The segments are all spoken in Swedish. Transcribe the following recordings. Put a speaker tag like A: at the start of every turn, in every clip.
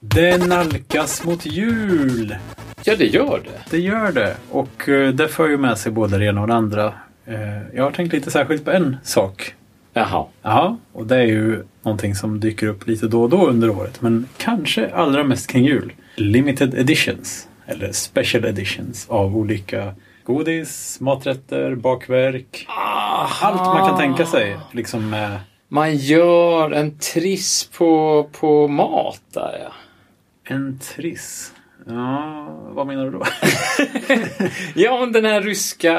A: Det nalkas mot jul.
B: Ja, det gör det.
A: Det gör det. Och eh, det för ju med sig både det ena och det andra. Eh, Jag har tänkt lite särskilt på en sak.
B: Jaha.
A: Ja, och det är ju någonting som dyker upp lite då och då under året. Men kanske allra mest kring jul. Limited editions. Eller special editions av olika godis, maträtter, bakverk. Allt Ah, man kan tänka sig. Liksom eh,
B: Man gör en triss på, på mat där ja.
A: en triss. Ja, vad menar du då?
B: Ja, men den här ryska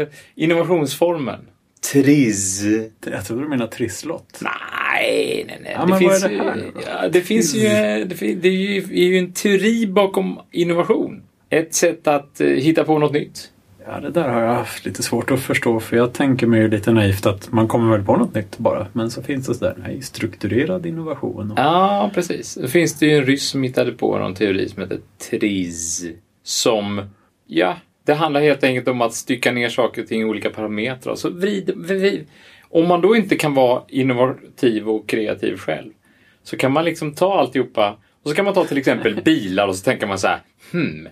B: eh, innovationsformen. Triss.
A: Jag tror du menar trisslott.
B: Nej, nej, nej.
A: Ja,
B: det,
A: men vad
B: finns
A: är det
B: ju,
A: här nu då?
B: ja, det finns ju... Det, fin- det är ju, är ju en teori bakom innovation. Ett sätt att eh, hitta på något nytt.
A: Ja, det där har jag haft lite svårt att förstå för jag tänker mig ju lite naivt att man kommer väl på något nytt bara. Men så finns det sådär, nej, strukturerad innovation. Och...
B: Ja, precis. Då finns det ju en ryss som hittade på någon teori som heter TRIS. Som, ja, det handlar helt enkelt om att stycka ner saker och ting i olika parametrar. Så vrid, vrid. Om man då inte kan vara innovativ och kreativ själv så kan man liksom ta alltihopa och så kan man ta till exempel bilar och så tänker man så här, hmm,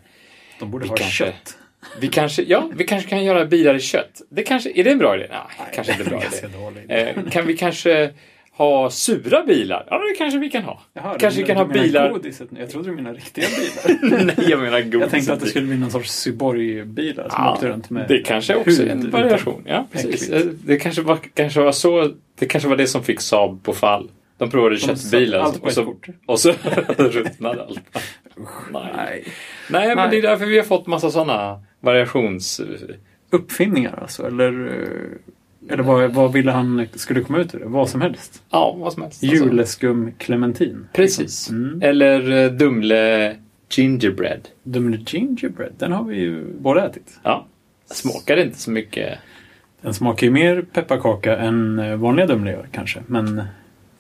A: De borde
B: Vi
A: ha
B: kanske-
A: kött.
B: vi kanske, ja, vi kanske kan göra bilar i kött. Det kanske, är det en bra idé? Nej, kanske inte en bra
A: Ganska
B: idé.
A: dålig.
B: Eh, kan vi kanske ha sura bilar? Ja, det kanske vi kan ha.
A: Jaha,
B: kanske vi
A: du-
B: kan
A: du
B: ha
A: menar
B: bilar...
A: Godiset. nu. Jag trodde du menade riktiga bilar.
B: Nej, jag menar godis.
A: jag tänkte att det skulle bli någon sorts Syborg-bilar som åkte runt med
B: Det kanske också är en
A: hud
B: variation. Ja, precis. Det kanske var, kanske var så... Det kanske var det som fick Saab på fall. De provade
A: satte
B: köttbilar alltså,
A: allt på
B: och
A: ett
B: så,
A: kort.
B: och så ruttnade allt. Nej.
A: utan-
B: Nej.
A: Nej.
B: men
A: Nej.
B: det är därför vi har fått massa sådana variations...
A: Uppfinningar alltså, eller, eh, eller vad, vad ville han skulle komma ut ur det? Vad som helst.
B: Ja, vad som helst. alltså.
A: Juleskum clementin.
B: Precis.
A: Mm.
B: Eller eh, Dumle Gingerbread.
A: Dumle gingerbread, den har vi ju båda ätit.
B: Ja. Smakar inte så mycket.
A: Den smakar ju mer pepparkaka än eh, vanliga Dumle gör kanske, men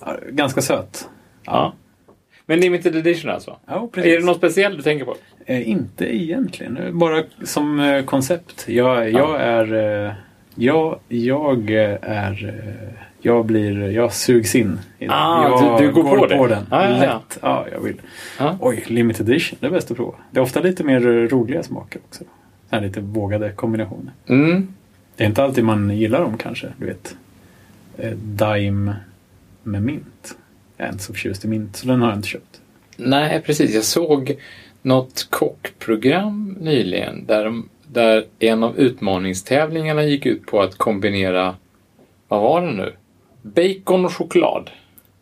A: ja, ganska söt. Eh,
B: Ja. Men limited edition alltså?
A: Ja, precis.
B: Är det något speciellt du tänker på?
A: Eh, inte egentligen, bara som eh, koncept. Jag, jag är... eh, Jag, jag eh, är... eh, Jag blir... Jag sugs in. i den.
B: Ah,
A: jag
B: du- du går på det.
A: den.
B: Ah, ja, ja.
A: Lätt. Ja, jag vill.
B: Ja.
A: Oj, limited edition. Det är bäst att prova. Det är ofta lite mer eh, roliga smaker också. Så här lite vågade kombinationer.
B: Mm.
A: Det är inte alltid man gillar dem kanske. Du vet. Eh, Daim med mint. Jag är inte så förtjust i mint, så den har jag inte köpt.
B: Nej, precis. Jag såg något kockprogram nyligen där, de, där en av utmaningstävlingarna gick ut på att kombinera, vad var det nu? Bacon och choklad.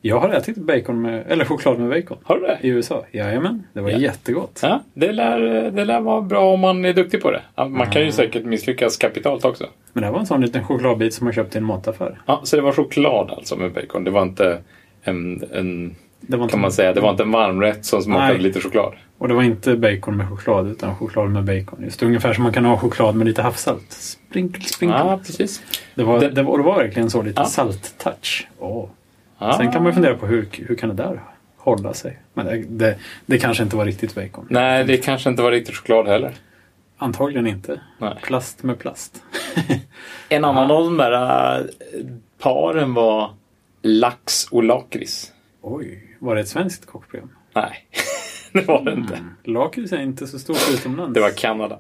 A: Jag har ätit bacon med, eller choklad med bacon.
B: Har du det?
A: I USA? Jajamän, det var
B: Ja.
A: jättegott.
B: Ja, det lär, det lär vara bra om man är duktig på det. Ja, Man
A: Mm.
B: kan ju säkert misslyckas kapitalt också.
A: Men det här var en sån liten chokladbit som man köpte i en mataffär.
B: Ja, så det var choklad alltså med bacon. Det var inte en, en
A: Det var inte-
B: kan man säga, det var inte en varmrätt som smakade
A: Nej.
B: lite choklad.
A: Och det var inte bacon med choklad utan choklad med bacon. Just ungefär som man kan ha choklad med lite havssalt. Sprinkel, sprinkel.
B: Ja, precis.
A: Det, var,
B: det-
A: det, var, och det var verkligen så lite
B: Ja.
A: salt-touch. Åh.
B: Ja.
A: Sen kan man ju fundera på hur, hur kan det där hålla sig? Men det, det, det kanske inte var riktigt bacon.
B: Nej, det kanske inte var riktigt choklad heller.
A: Antagligen inte.
B: Nej.
A: Plast med plast.
B: En annan av de där äh, paren var lax och lakrits.
A: Oj, var det ett svenskt kockprogram?
B: Nej, det var det inte.
A: Mm. Lakrits är inte så stort utomlands.
B: Det var Kanada.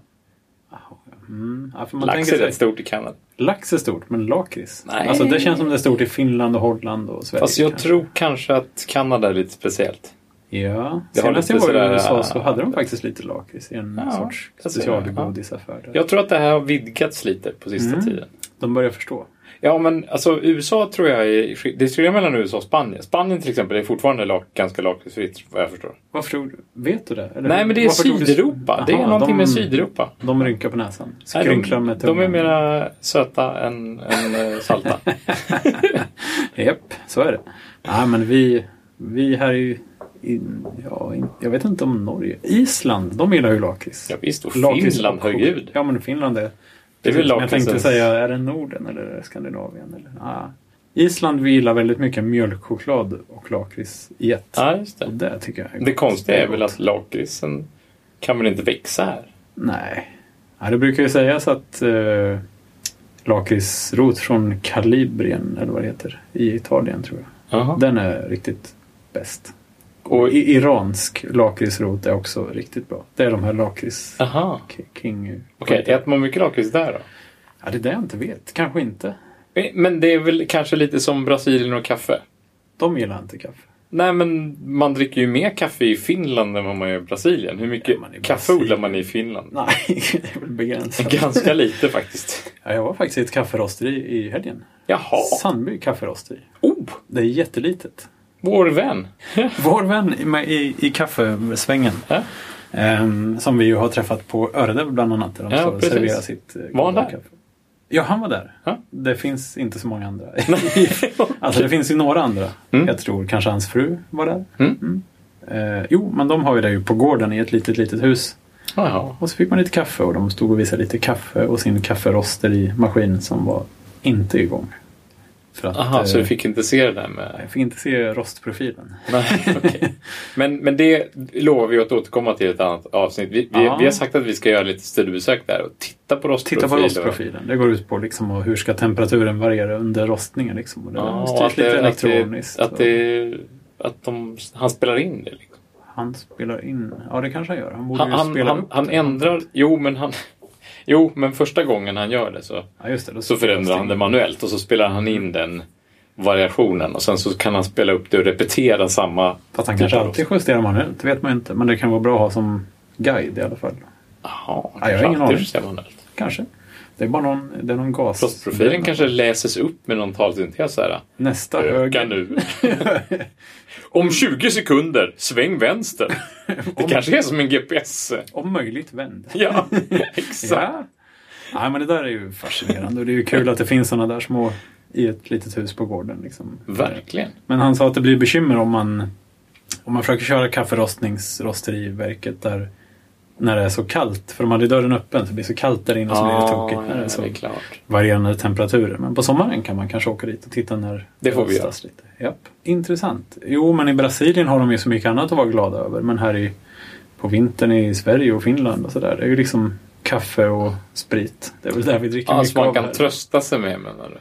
A: Mm, ja, för man
B: Lax
A: tänker
B: är
A: sig-
B: rätt stort i Kanada.
A: Lax är stort, men lakrits?
B: Nej.
A: Alltså det känns som det är stort i Finland och Holland och Sverige.
B: Fast jag
A: kanske.
B: tror kanske att Kanada är lite speciellt.
A: Ja,
B: Det har
A: senast jag
B: lite
A: var i
B: sådär-
A: USA så hade de faktiskt lite lakrits i en
B: Ja,
A: sorts
B: jag ser det.
A: specialgodisaffär. där.
B: Jag tror att det här har vidgats lite på sista
A: Mm.
B: tiden.
A: De börjar förstå.
B: Ja, men alltså USA tror jag är... Det är skillnad mellan USA och Spanien. Spanien till exempel är fortfarande lak, ganska lakritsfritt, vad jag förstår.
A: Varför tror du? Vet du det? Eller
B: Nej, men det är
A: Mm. varför tog du-
B: Sydeuropa. det är
A: Jaha,
B: någonting
A: de,
B: med Sydeuropa.
A: De rynkar på näsan.
B: Nej,
A: Skrynklar med
B: de,
A: tungan.
B: de är mera söta än, än eh, salta.
A: Japp, så är det. Nej, men vi, vi här i... i ja, in- jag vet inte om Norge. Island, de gillar ju lakrits.
B: Ja, visst, och
A: Lakrits
B: Finland,
A: och-
B: herregud.
A: Ja, men Finland är...
B: Det är väl
A: Men jag tänkte
B: lakritsen.
A: säga, är det Norden eller är det Skandinavien? Eller? Ah. Island vi gillar väldigt mycket mjölkchoklad och lakrits i ett.
B: Ja, just
A: Och
B: det.
A: det tycker jag
B: Det
A: gott.
B: konstiga är
A: gott.
B: väl att lakritsen kan väl inte växa här?
A: Nej. Ja, det brukar ju sägas att eh, lakritsrot från Kalibrien, eller vad det heter, i Italien tror jag.
B: Jaha.
A: Den är riktigt bäst. Och i- iransk lakritsrot är också riktigt bra. Det är de här lakrits...
B: Aha.
A: k- King...
B: Okej, äter man mycket lakrits där då?
A: Ja, det är det jag inte vet. Kanske inte.
B: Men det är väl kanske lite som Brasilien och kaffe?
A: De gillar inte kaffe.
B: Nej, men man dricker ju mer kaffe i Finland än vad man gör i Brasilien. Hur mycket
A: Ja, men i
B: kaffe
A: Brasilien-
B: odlar man i Finland?
A: Nej, det är väl begränsat.
B: Ganska lite faktiskt.
A: Ja, jag var faktiskt i ett kafferosteri i helgen.
B: Jaha.
A: Sandby kafferosteri.
B: Oh,
A: Det är jättelitet.
B: vår vän.
A: Vår vän i, med- i, i kaffesvängen,
B: Ja.
A: ehm, som vi ju har träffat på Örede bland annat, där de
B: Ja,
A: står och
B: precis.
A: serverar sitt eh,
B: Var han
A: goda
B: där?
A: kaffe. Ja, han var där.
B: Ja.
A: Det finns inte så många andra. alltså det finns ju några andra. Jag tror kanske hans fru var där.
B: Mm.
A: Eh, jo, men de har ju det ju på gården i ett litet, litet hus.
B: Jaha.
A: Och så fick man lite kaffe och de stod och visade lite kaffe och sin kafferosteri-maskin som var inte igång. För att,
B: Aha, så
A: eh,
B: du fick inte se det där med...
A: Jag fick inte se rostprofilen.
B: Nej, okej. Men, men det lovar vi att återkomma till i ett annat avsnitt. Vi, vi,
A: Ja.
B: vi har sagt att vi ska göra lite studiebesök där och titta på rostprofiler.
A: Titta på rostprofilen. Det går ut på liksom och hur ska temperaturen variera under rostningen. Liksom. Och det
B: Ja,
A: ja,
B: och att,
A: styrs lite
B: det, att, det,
A: elektroniskt.
B: att, det, att de, han spelar in det. Liksom.
A: och Han spelar in. Ja, det kanske han gör. Han borde
B: Han,
A: ju
B: han,
A: spela
B: han,
A: upp
B: han
A: det.
B: ändrar... Jo men, han, jo, men första gången han gör det så,
A: Ja, just det. Då
B: så förändrar han det manuellt och så spelar han in den variationen och sen så kan han spela upp det och repetera samma...
A: Fast han kanske alltid justerar manuellt. Det vet man ju inte. Men det kan vara bra att ha som guide i alla fall.
B: Jaha,
A: jag har ingen
B: kanske alltid
A: aning.
B: justerar manuellt.
A: Kanske. Det är bara någon, det är någon gas.
B: Rostprofilen kanske läses upp med någon talsyntes så här.
A: Nästa
B: Öka
A: höger.
B: nu. Om 20 sekunder, sväng vänster. Det kanske är som en GPS.
A: Om möjligt vänd.
B: Ja, exakt.
A: Ja. Nej, men det där är ju fascinerande. Och det är ju kul att det finns sådana där små i ett litet hus på gården. Liksom.
B: Verkligen.
A: Men han sa att det blir bekymmer om man, om man försöker köra kafferostningsrosteriverket där när det är så kallt. För de hade dörren öppen så det blir så kallt där inne så blir det tokigt när det är
B: Ah, ja, det
A: så
B: är klart.
A: varierande temperaturer. Men på sommaren kan man kanske åka dit och titta när
B: Det får vi göra.
A: rostas lite. Japp. Intressant. Jo, men i Brasilien har de ju så mycket annat att vara glada över. Men här i, på vintern i Sverige och Finland och sådär, det är ju liksom kaffe och sprit. Det är väl där vi dricker mycket
B: Alltså man
A: av
B: kan
A: här.
B: trösta sig med menar du?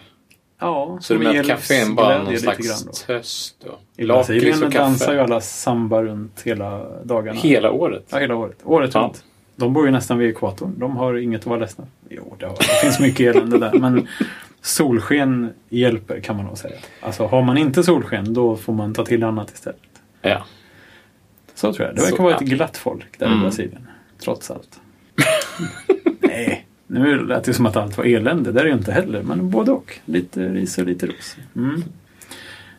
A: Ja,
B: Så
A: som
B: du menar
A: ger
B: att kaffe är bara någon
A: livsglädje lite grann då.
B: slags tröst? Då.
A: I
B: Lakrits
A: Brasilien
B: och
A: dansar ju
B: kaffe?
A: alla samba runt hela dagarna.
B: Hela året?
A: Ja, hela året. Året
B: Ja.
A: runt. De bor ju nästan vid ekvatorn. De har inget att vara ledsna för. Jo, det, har, det finns mycket elände där. Men solsken hjälper kan man nog säga. Alltså har man inte solsken då får man ta till annat istället.
B: Ja.
A: Så tror jag. Det
B: Så,
A: verkar vara
B: ja.
A: ett glatt folk där
B: Mm.
A: i Brasilien. Trots allt. Nej, nu lät det som att allt var elände. Det är det ju inte heller. Men både och. Lite ris och lite ros. Mm.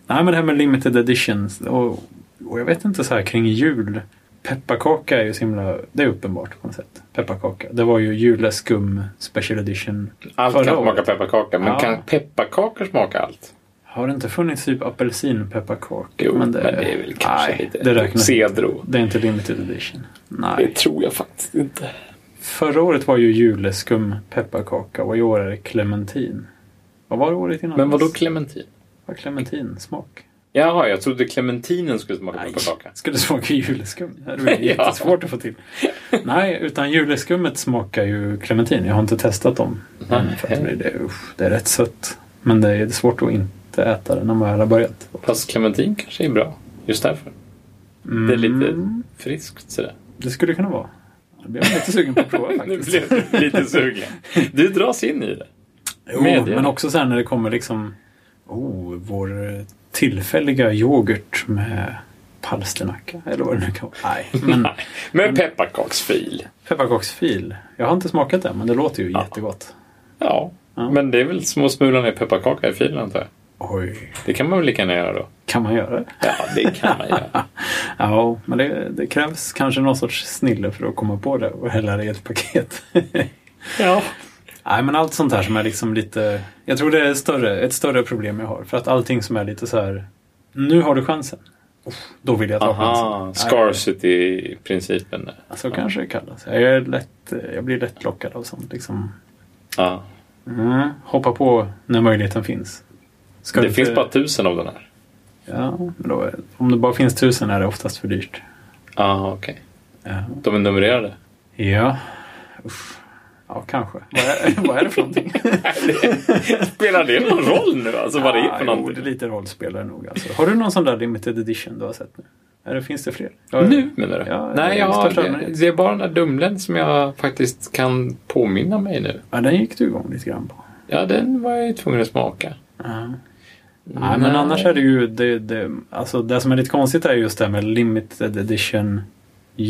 A: Nej, men det här med limited editions. Och, och jag vet inte så här kring jul. Pepparkaka är ju så himla... Det är uppenbart på något sätt. Pepparkaka. Det var ju juleskum special edition
B: Allt kan smaka pepparkaka, men
A: Ja.
B: kan pepparkakor smaka allt?
A: Har det inte funnits typ apelsinpepparkaka?
B: Jo, men det, är väl kanske
A: nej,
B: lite
A: det räknas inte.
B: cedro.
A: Det är inte limited edition. Nej.
B: Det tror jag faktiskt inte.
A: Förra året var ju juleskum pepparkaka och i år är det clementin. Vad var det året innan?
B: Men vadå clementin?
A: Vad clementin smak?
B: Jaha, jag trodde clementinen skulle smaka pepparkaka.
A: Skulle smaka juleskum? Det är ju
B: Ja.
A: jättesvårt att få till. Nej, utan juleskummet smakar ju clementin. Jag har inte testat dem. Men för att det, det, usch, det är rätt sött. Men det är svårt att inte äta det när man väl har börjat.
B: Fast clementin kanske är bra, just därför.
A: Mm,
B: Det är lite friskt sådär.
A: Det skulle kunna vara. Det blev jag lite sugen på att prova
B: Nu
A: faktiskt.
B: blev du lite sugen. Du dras in i det.
A: Jo,
B: Medge.
A: men också sen när det kommer liksom oh, vår tillfälliga yoghurt med palsternacka eller vad det nu kan vara. Nej, men
B: Nej, Men pepparkaksfil.
A: pepparkaksfil. Jag har inte smakat det, men det låter ju jättegott.
B: Ja,
A: Ja.
B: men det är väl små smulor ner pepparkaka i filen antar jag.
A: Oj,
B: Det kan man väl lika gärna göra då?
A: kan man göra det?
B: Ja, det kan man göra.
A: Ja, men det, det krävs kanske någon sorts snille för att komma på det och hälla det i ett paket.
B: Ja.
A: Nej, men allt sånt här som är liksom lite... Jag tror det är större, ett större problem jag har. För att allting som är lite så här... Nu har du chansen. Uff, då vill jag ta chansen.
B: Aha,
A: Nej.
B: scarcity-principen. där.
A: Så Alltså, kanske det kallas. Jag, är lätt, jag blir lätt lockad av sånt. Liksom.
B: Ja.
A: Mm. Hoppa på när möjligheten finns. Ska
B: Det
A: du
B: finns
A: inte-
B: bara tusen av den här.
A: Ja, men då, är- om det bara finns tusen är det oftast för dyrt.
B: Ja, okej.
A: Ja,
B: De är numrerade.
A: ja. Uff. ja kanske. Vad är, vad är det för någonting?
B: Spelar det någon roll nu alltså vad det är
A: Ja, jo,
B: för
A: det är
B: någonting?
A: lite rollspelare nog. Alltså. Har du någon sån där limited edition du har sett nu? Eller finns det fler?
B: Nu menar du?
A: Ja,
B: Nej,
A: i
B: jag har,
A: största
B: det,
A: allmänhet.
B: det är bara den där Dumlen som jag faktiskt kan påminna mig nu.
A: Ja, den gick du igång lite grann på.
B: Ja, den var jag ju tvungen att smaka.
A: Nej, men annars är det ju det, det, alltså det som är lite konstigt är just det här med limited edition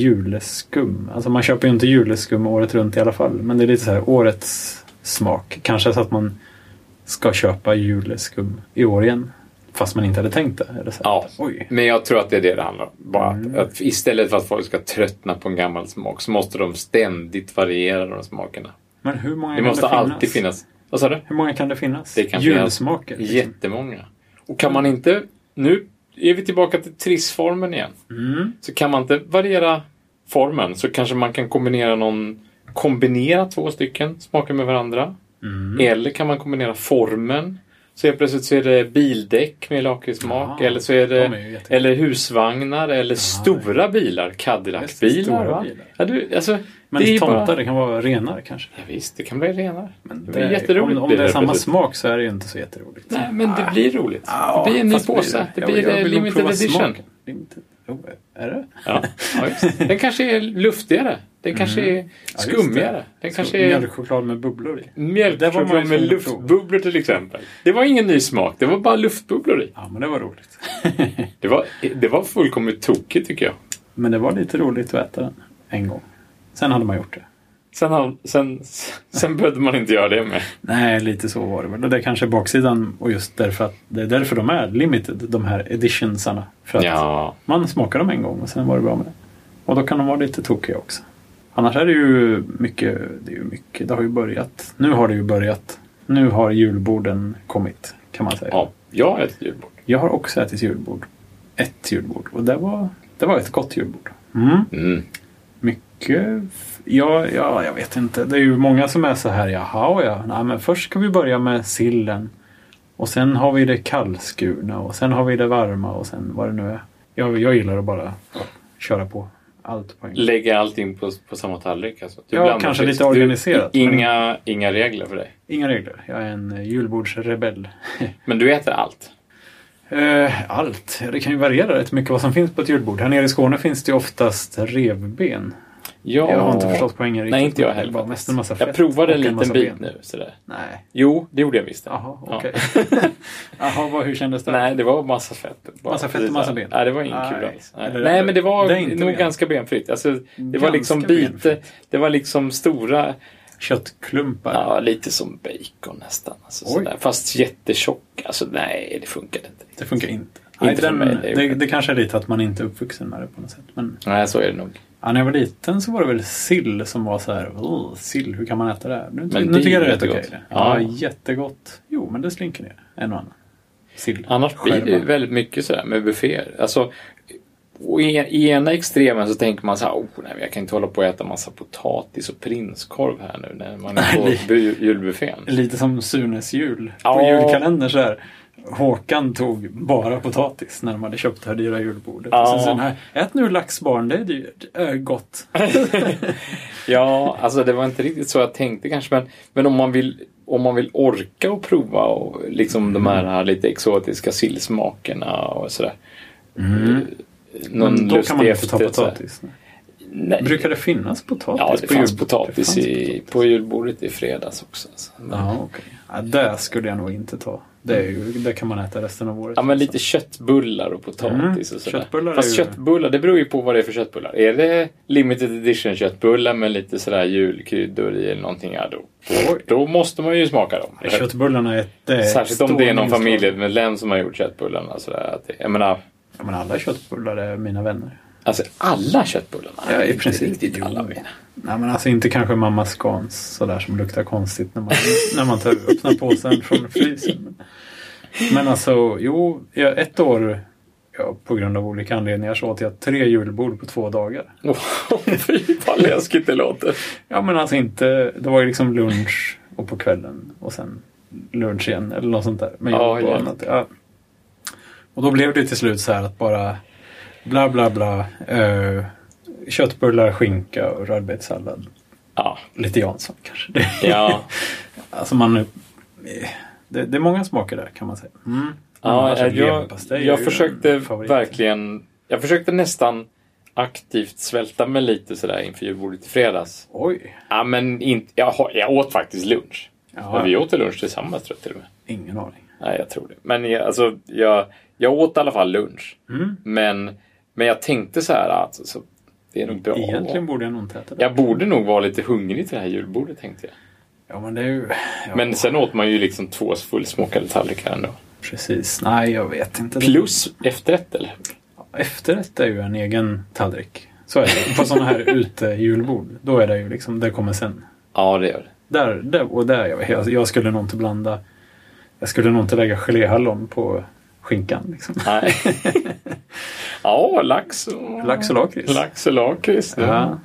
A: juleskum. Alltså man köper ju inte juleskum året runt i alla fall. Men det är lite så här årets smak. Kanske så att man ska köpa juleskum i år igen. Fast man inte hade tänkt det. Eller så här.
B: Ja,
A: Oj.
B: men jag tror att det är det det handlar om. Bara att-
A: Mm.
B: att istället för att folk ska tröttna på en gammal smak så måste de ständigt variera de smakerna.
A: Men hur många
B: Det
A: kan
B: måste alltid finnas. Vad sa du?
A: Hur många kan det finnas?
B: Det kan finnas
A: Julsmaker? liksom.
B: Jättemånga. Och kan man inte... Nu är vi tillbaka till trissformen igen.
A: Mm.
B: Så kan man inte variera formen så kanske man kan kombinera någon... Kombinera två stycken smaker med varandra.
A: Mm.
B: Eller kan man kombinera formen. Så helt plötsligt så är det bildäck med lakritssmak.
A: Ja,
B: Eller så är det...
A: Ah. de är ju jättegoda.
B: Eller husvagnar eller stora bilar.
A: Just det,
B: Cadillac-bilar.
A: stora
B: va?
A: bilar.
B: Ja, du, alltså,
A: Men
B: det är ju
A: tomtar,
B: bara...
A: det kan vara renar kanske?
B: Ja, visst, det kan bli renare.
A: Men
B: det
A: det
B: blir
A: är-
B: jätteroligt.
A: Om, om
B: blir
A: det är samma
B: plötsligt.
A: smak så är det ju inte så jätteroligt.
B: Nej, men det blir roligt.
A: Ja,
B: det blir en ny
A: fast
B: påse. Det blir
A: jag vill
B: eh,
A: nog
B: limited
A: prova
B: edition.
A: smaken. Limited. Jo, är det?
B: Ja, ja, just. Den kanske är luftigare. Den kanske är
A: Mm. just
B: skummigare. Den
A: Så
B: kanske är
A: Mjölkchoklad med bubblor i. Det var man ju
B: mjölkchoklad med
A: tvungen att
B: luftbubblor till exempel. Det var ingen ny smak. Det var bara luftbubblor i.
A: Ja, men det var roligt.
B: Det var, det var fullkomligt tokigt tycker jag.
A: men det var lite roligt att äta den en gång. Sen hade man gjort det.
B: Sen, har- sen, sen behövde man inte göra det med.
A: Nej, lite så var det väl. Och Det är kanske är baksidan och just därför att det är därför de är limited, de här editionsarna. För att
B: Ja.
A: man smakar dem en gång och sen var det bra med det. Och då kan de vara lite tokiga också. Annars är det ju mycket, det är ju mycket, det har ju börjat. Nu har det ju börjat. Nu har julborden kommit, kan man säga.
B: ja. Jag äter julbord.
A: Jag har också ätit julbord. Ett julbord. Och det var, det var ett gott julbord. Mm.
B: Mm.
A: Mycket... f- Ja, ja, jag vet inte. Det är ju många som är så här, jaha ja. Nej, men först ska vi börja med sillen. Och sen har vi det kallskurna och sen har vi det varma och sen vad det nu är. Jag, jag gillar att bara köra på allt på en gång.
B: Lägga allting på, på samma tallrik alltså. Du
A: Ja,
B: blandar
A: kanske
B: fritt.
A: lite organiserat,
B: Du,
A: men-
B: inga, inga regler för dig.
A: Inga regler. Jag är en eh, julbordsrebell.
B: Men du äter allt.
A: Eh, Allt. Ja, Det kan ju variera rätt mycket vad som finns på ett julbord. Här nere i Skåne finns det ju oftast revben.
B: Ja.
A: Jag har inte förstått poängen riktigt.
B: Nej, inte jag
A: men det är
B: heller.
A: Bara mest
B: faktiskt.
A: en massa fett
B: jag provade en
A: och
B: liten
A: massa
B: bit
A: ben.
B: nu. Sådär.
A: Nej.
B: Jo, det gjorde jag visst.
A: Jaha,
B: Ja.
A: okej. Jaha, vad- hur kändes det?
B: Nej, det var massa fett. Bara
A: Massa fett och
B: precis
A: massa
B: där.
A: ben.
B: Nej, det var ingen
A: Nej.
B: kul alls. Nej.
A: Eller-
B: Nej, men det var
A: det är inte
B: nog
A: ben.
B: ganska benfritt. Alltså, det var liksom
A: Ganska
B: bite.
A: benfritt.
B: Det var liksom stora.
A: Köttklumpar.
B: Ja, lite som bacon nästan. Alltså,
A: Oj.
B: sådär. Fast jättetjock. Alltså, nej, det funkade inte.
A: Det funkar inte.
B: Inte för mig, det
A: det,
B: är
A: det,
B: okej.
A: kanske är lite att man inte är uppvuxen med det på något sätt. Men
B: Nej, så är det nog.
A: ja, när jag var liten så var det väl sill som var så här, "Åh, sill, hur kan man äta det här? Nu, ty-
B: Men
A: nu
B: det
A: tycker jag
B: är
A: det är rätt okej.
B: jättegott.
A: det. Ja.
B: Ja.
A: jättegott. Jo, men det slinker ner en och annan. Sill.
B: Annars blir det ju
A: Skärmar.
B: väldigt mycket sådär med bufféer. Alltså, och i, I ena extremen så tänker man så här, oh, nej, men jag kan inte hålla på och äta massa potatis och prinskorv här nu när man är på
A: Nej.
B: bu- julbuffén.
A: Lite som Sunes jul. På
B: Ja.
A: julkalendern så här. Håkan tog bara potatis när de hade köpt det här dyra julbordet.
B: Ja.
A: Och sen så här, ät nu laxbarn, det är dyrt. Ö, gott.
B: Ja, alltså det var inte riktigt så jag tänkte kanske, men, men om, man vill, om man vill orka och prova och liksom de
A: Mm.
B: här lite exotiska sillsmakerna och sådär. Någon
A: Men då kan man inte
B: lustig
A: ta
B: efterrätt, så här.
A: potatis.
B: Nej.
A: Brukar det finnas potatis
B: Ja, det
A: på
B: fanns
A: julbordet?
B: potatis,
A: Det fanns
B: i,
A: potatis.
B: på julbordet i fredags också. Alltså.
A: Ja, okej. Ja, det skulle jag nog inte ta. Det, är ju, det kan man äta resten av året.
B: Ja, men lite köttbullar och potatis
A: Mm,
B: och sådär.
A: köttbullar är
B: Fast
A: ju-
B: köttbullar, det beror ju på vad det är för köttbullar. Är det limited edition köttbullar med lite sådär julkryddor i eller någonting, ja då,
A: Oj.
B: då måste man ju smaka dem.
A: Ja, Köttbullarna är det är
B: Särskilt
A: stor
B: om det är någon
A: minsta-
B: familjemedlem som har gjort köttbullarna. Sådär, att det, jag menar,
A: Ja, men alla köttbullar är mina vänner.
B: alltså alla köttbullarna.
A: Ja, i
B: Inte
A: princip.
B: Riktigt
A: Jo.
B: alla mina.
A: Nej, men alltså inte kanske mamma Scans sådär som luktar konstigt när man, när man tar, öppnar påsen från frysen. Men, men alltså, jo, jag- ett år ja, på grund av olika anledningar så åt jag tre julbord på två dagar.
B: Åh, Fy vad läskigt det låter.
A: Ja men alltså inte, det var ju liksom lunch och på kvällen och sen lunch igen eller något sånt där. Men jag
B: Ja,
A: var på
B: ja.
A: annat. Ja. Och då blev det till slut så här att bara bla bla bla. eh, köttbullar, skinka och rödbetssallad.
B: Ja,
A: Lite Jansson kanske. Det,
B: ja.
A: alltså man, eh, det, det är många smaker där kan man säga. Mm. Men
B: Ja,
A: annars är
B: jag,
A: leverpastej är
B: jag
A: ju
B: försökte
A: en favorit.
B: verkligen Jag försökte nästan aktivt svälta mig lite sådär inför julbordet i fredags.
A: Oj,
B: Ja, men inte, jag, har- jag åt faktiskt lunch.
A: Ja.
B: Vi åt lunch tillsammans tror jag till och med.
A: ingen aning.
B: Nej, jag tror det. Men jag, alltså, jag, jag åt i alla fall lunch.
A: Mm.
B: Men, men jag tänkte så här att alltså, det är nog bra.
A: Egentligen borde jag nog inte äta det.
B: Jag borde nog vara lite hungrig till det här julbordet tänkte jag.
A: Ja, men det är ju... Ja,
B: Men sen åt man ju liksom två fullsmakade tallrikar ändå.
A: Precis. Nej, jag vet inte.
B: Plus efterrätt eller?
A: Efterrätt är ju en egen tallrik. Så är det. På sådana här utejulbord. Då är det ju liksom, det kommer sen.
B: Ja, det gör det.
A: Där, där och där, jag, jag, jag skulle nog inte blanda... Jag skulle nog inte lägga geléhallon på skinkan. Liksom.
B: Nej. ja, lax och...
A: Lax och lakrits.
B: Lax och lakrits.
A: Ja.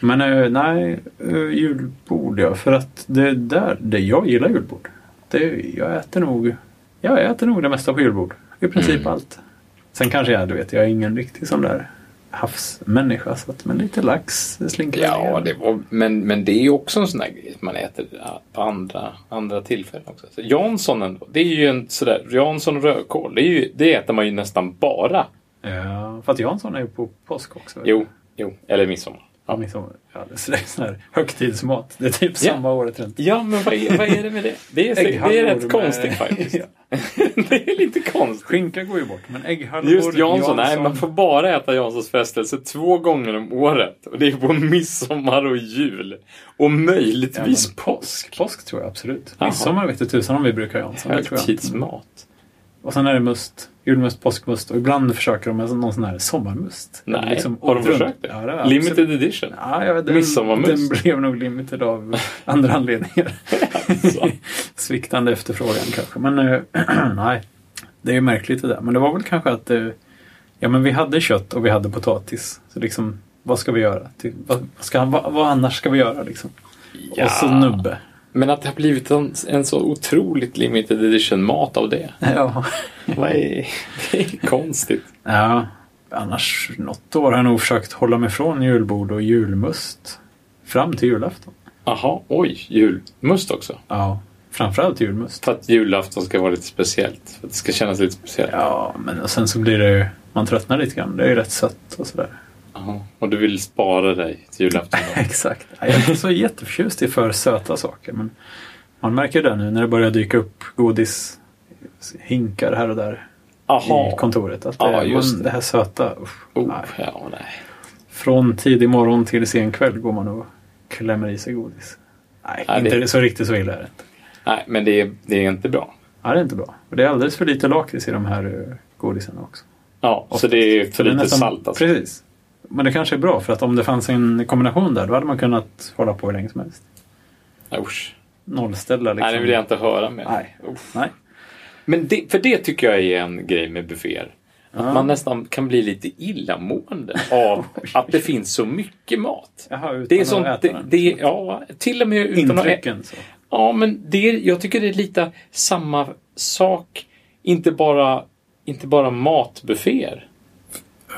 A: Men eh, nej, eh, julbord ja. För att det där, det, jag gillar julbord. Det, jag, äter nog, jag äter nog det mesta på julbord. I princip
B: Mm.
A: allt. Sen kanske jag, du vet, jag är ingen riktig sån där havsmänniska. Så att, men lite lax slinker väl
B: Ja,
A: igenom.
B: det var, men, men det är ju också en sån där grej som man äter på andra, andra tillfällen också. Så Jansson ändå, det är ju en sådär, Jansson och rödkål, det, är ju, det äter man ju nästan bara.
A: Ja, för att Jansson är ju på påsk också.
B: Jo, jo, eller midsommar.
A: Ja, liksom, ja, det är sån här högtidsmat. Det är typ
B: Ja.
A: samma året runt.
B: Ja, men vad är, vad är det med det? Det är, det är
A: Ägghalvor
B: rätt
A: med-
B: konstigt faktiskt. det är lite konstigt.
A: Skinka går ju bort, men ägghalvor,
B: Just Jansson, nej man får bara äta Janssons frestelse två gånger om året. Och det är på midsommar och jul. Och möjligtvis påsk.
A: Påsk tror jag absolut.
B: Jaha.
A: Midsommar vet du tusan om vi brukar Jansson. Det tror jag inte.
B: Högtidsmat.
A: Och sen är det must. Julmust, påskmust och ibland försöker de med någon sån här sommarmust.
B: Nej,
A: Liksom
B: har de
A: året runt.
B: försökt det?
A: Ja, det har
B: Limited
A: absolut-
B: edition?
A: Ja, jag vet, den,
B: Midsommarmust?
A: den blev nog limited av andra anledningar.
B: Alltså.
A: Sviktande efterfrågan kanske. Men eh, nej, det är ju märkligt det där. Men det var väl kanske att eh, ja, men vi hade kött och vi hade potatis. Så liksom, vad ska vi göra? Typ, vad, vad ska, vad, vad annars ska vi göra liksom? Och så nubbe.
B: Men att det har blivit en, en så otroligt limited edition-mat av det.
A: Ja.
B: Vad är, det är konstigt.
A: Ja, annars något år har jag nog försökt hålla mig från julbord och julmust. Fram till julafton.
B: Jaha, oj, julmust också.
A: Ja, framförallt julmust.
B: För att julafton ska vara lite speciellt. För att det ska kännas lite speciellt.
A: Ja, men och sen så blir det ju... Man tröttnar lite grann. Det är ju rätt sött och sådär.
B: Jaha, Och du vill spara dig till julafton? då?
A: Exakt. Ja, Jag är inte så jätteförtjust i för söta saker, men man märker det nu när det börjar dyka upp godishinkar här och där
B: Jaha.
A: i kontoret. Att det,
B: Ja,
A: är-
B: just
A: men
B: det.
A: det här söta, usch,
B: Oh,
A: nej.
B: ja, nej.
A: Från tidig morgon till sen kväll går man och klämmer i sig godis. Nej,
B: Ja,
A: inte
B: det-
A: så riktigt så illa är det inte.
B: nej, men det är, det är inte bra.
A: Ja, det är inte bra. Och det är alldeles för lite lakrits i de här eh, godisarna också.
B: Ja, så det är för
A: det är
B: lite
A: nästan-
B: salt alltså.
A: Precis. Men det kanske är bra för att om det fanns en kombination där då hade man kunnat hålla på hur länge som helst.
B: Usch.
A: Nollställa liksom.
B: Nej, det vill jag inte höra mer.
A: Nej.
B: Uff.
A: Nej.
B: Men det, för det tycker jag är en grej med bufféer. Att
A: Ja.
B: man nästan kan bli lite illamående av att det finns så mycket mat.
A: Jaha, utan
B: Det är
A: att
B: som,
A: äta
B: det,
A: den.
B: det, är- ja, till och med utan att
A: Intrycken så.
B: Ja, men det, är- jag tycker det är lite samma sak. Inte bara, inte bara matbufféer.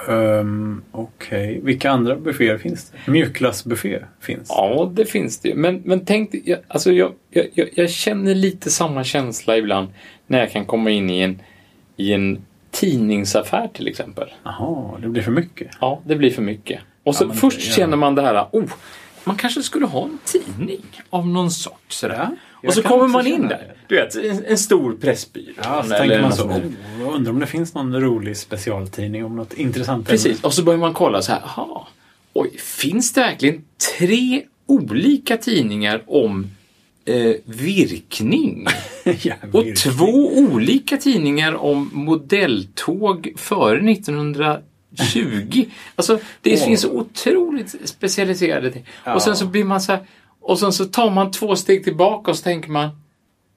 A: Ehm, Okej, vilka andra bufféer finns det? Mjukglassbuffé finns.
B: Ja, det finns det ju. Men, men tänk, dig- jag, alltså jag, jag, jag, jag känner lite samma känsla ibland när jag kan komma in i en, i en tidningsaffär till exempel.
A: Jaha, det blir för mycket.
B: Ja, det blir för mycket. Och så
A: men det-
B: först
A: ja.
B: känner man det här, oh, man kanske skulle ha en tidning av någon sort. Sådär.
A: jag
B: och så
A: kan
B: kommer
A: också
B: man in
A: känna
B: där.
A: det.
B: Du vet, en, en stor pressbyrå.
A: Ja, så
B: eller
A: tänker man
B: något
A: så.
B: sånt där.
A: Oh, jag undrar om det finns någon rolig specialtidning om något intressant ämne.
B: Precis, och så börjar man kolla så här, aha, oj, finns det verkligen tre olika tidningar om eh, virkning?
A: Ja,
B: Och
A: virkning.
B: två olika tidningar om modelltåg före 1920. Alltså, det
A: Åh.
B: finns otroligt specialiserade ting.
A: Ja.
B: Och sen så blir man så här, och sen så tar man två steg tillbaka och så tänker man,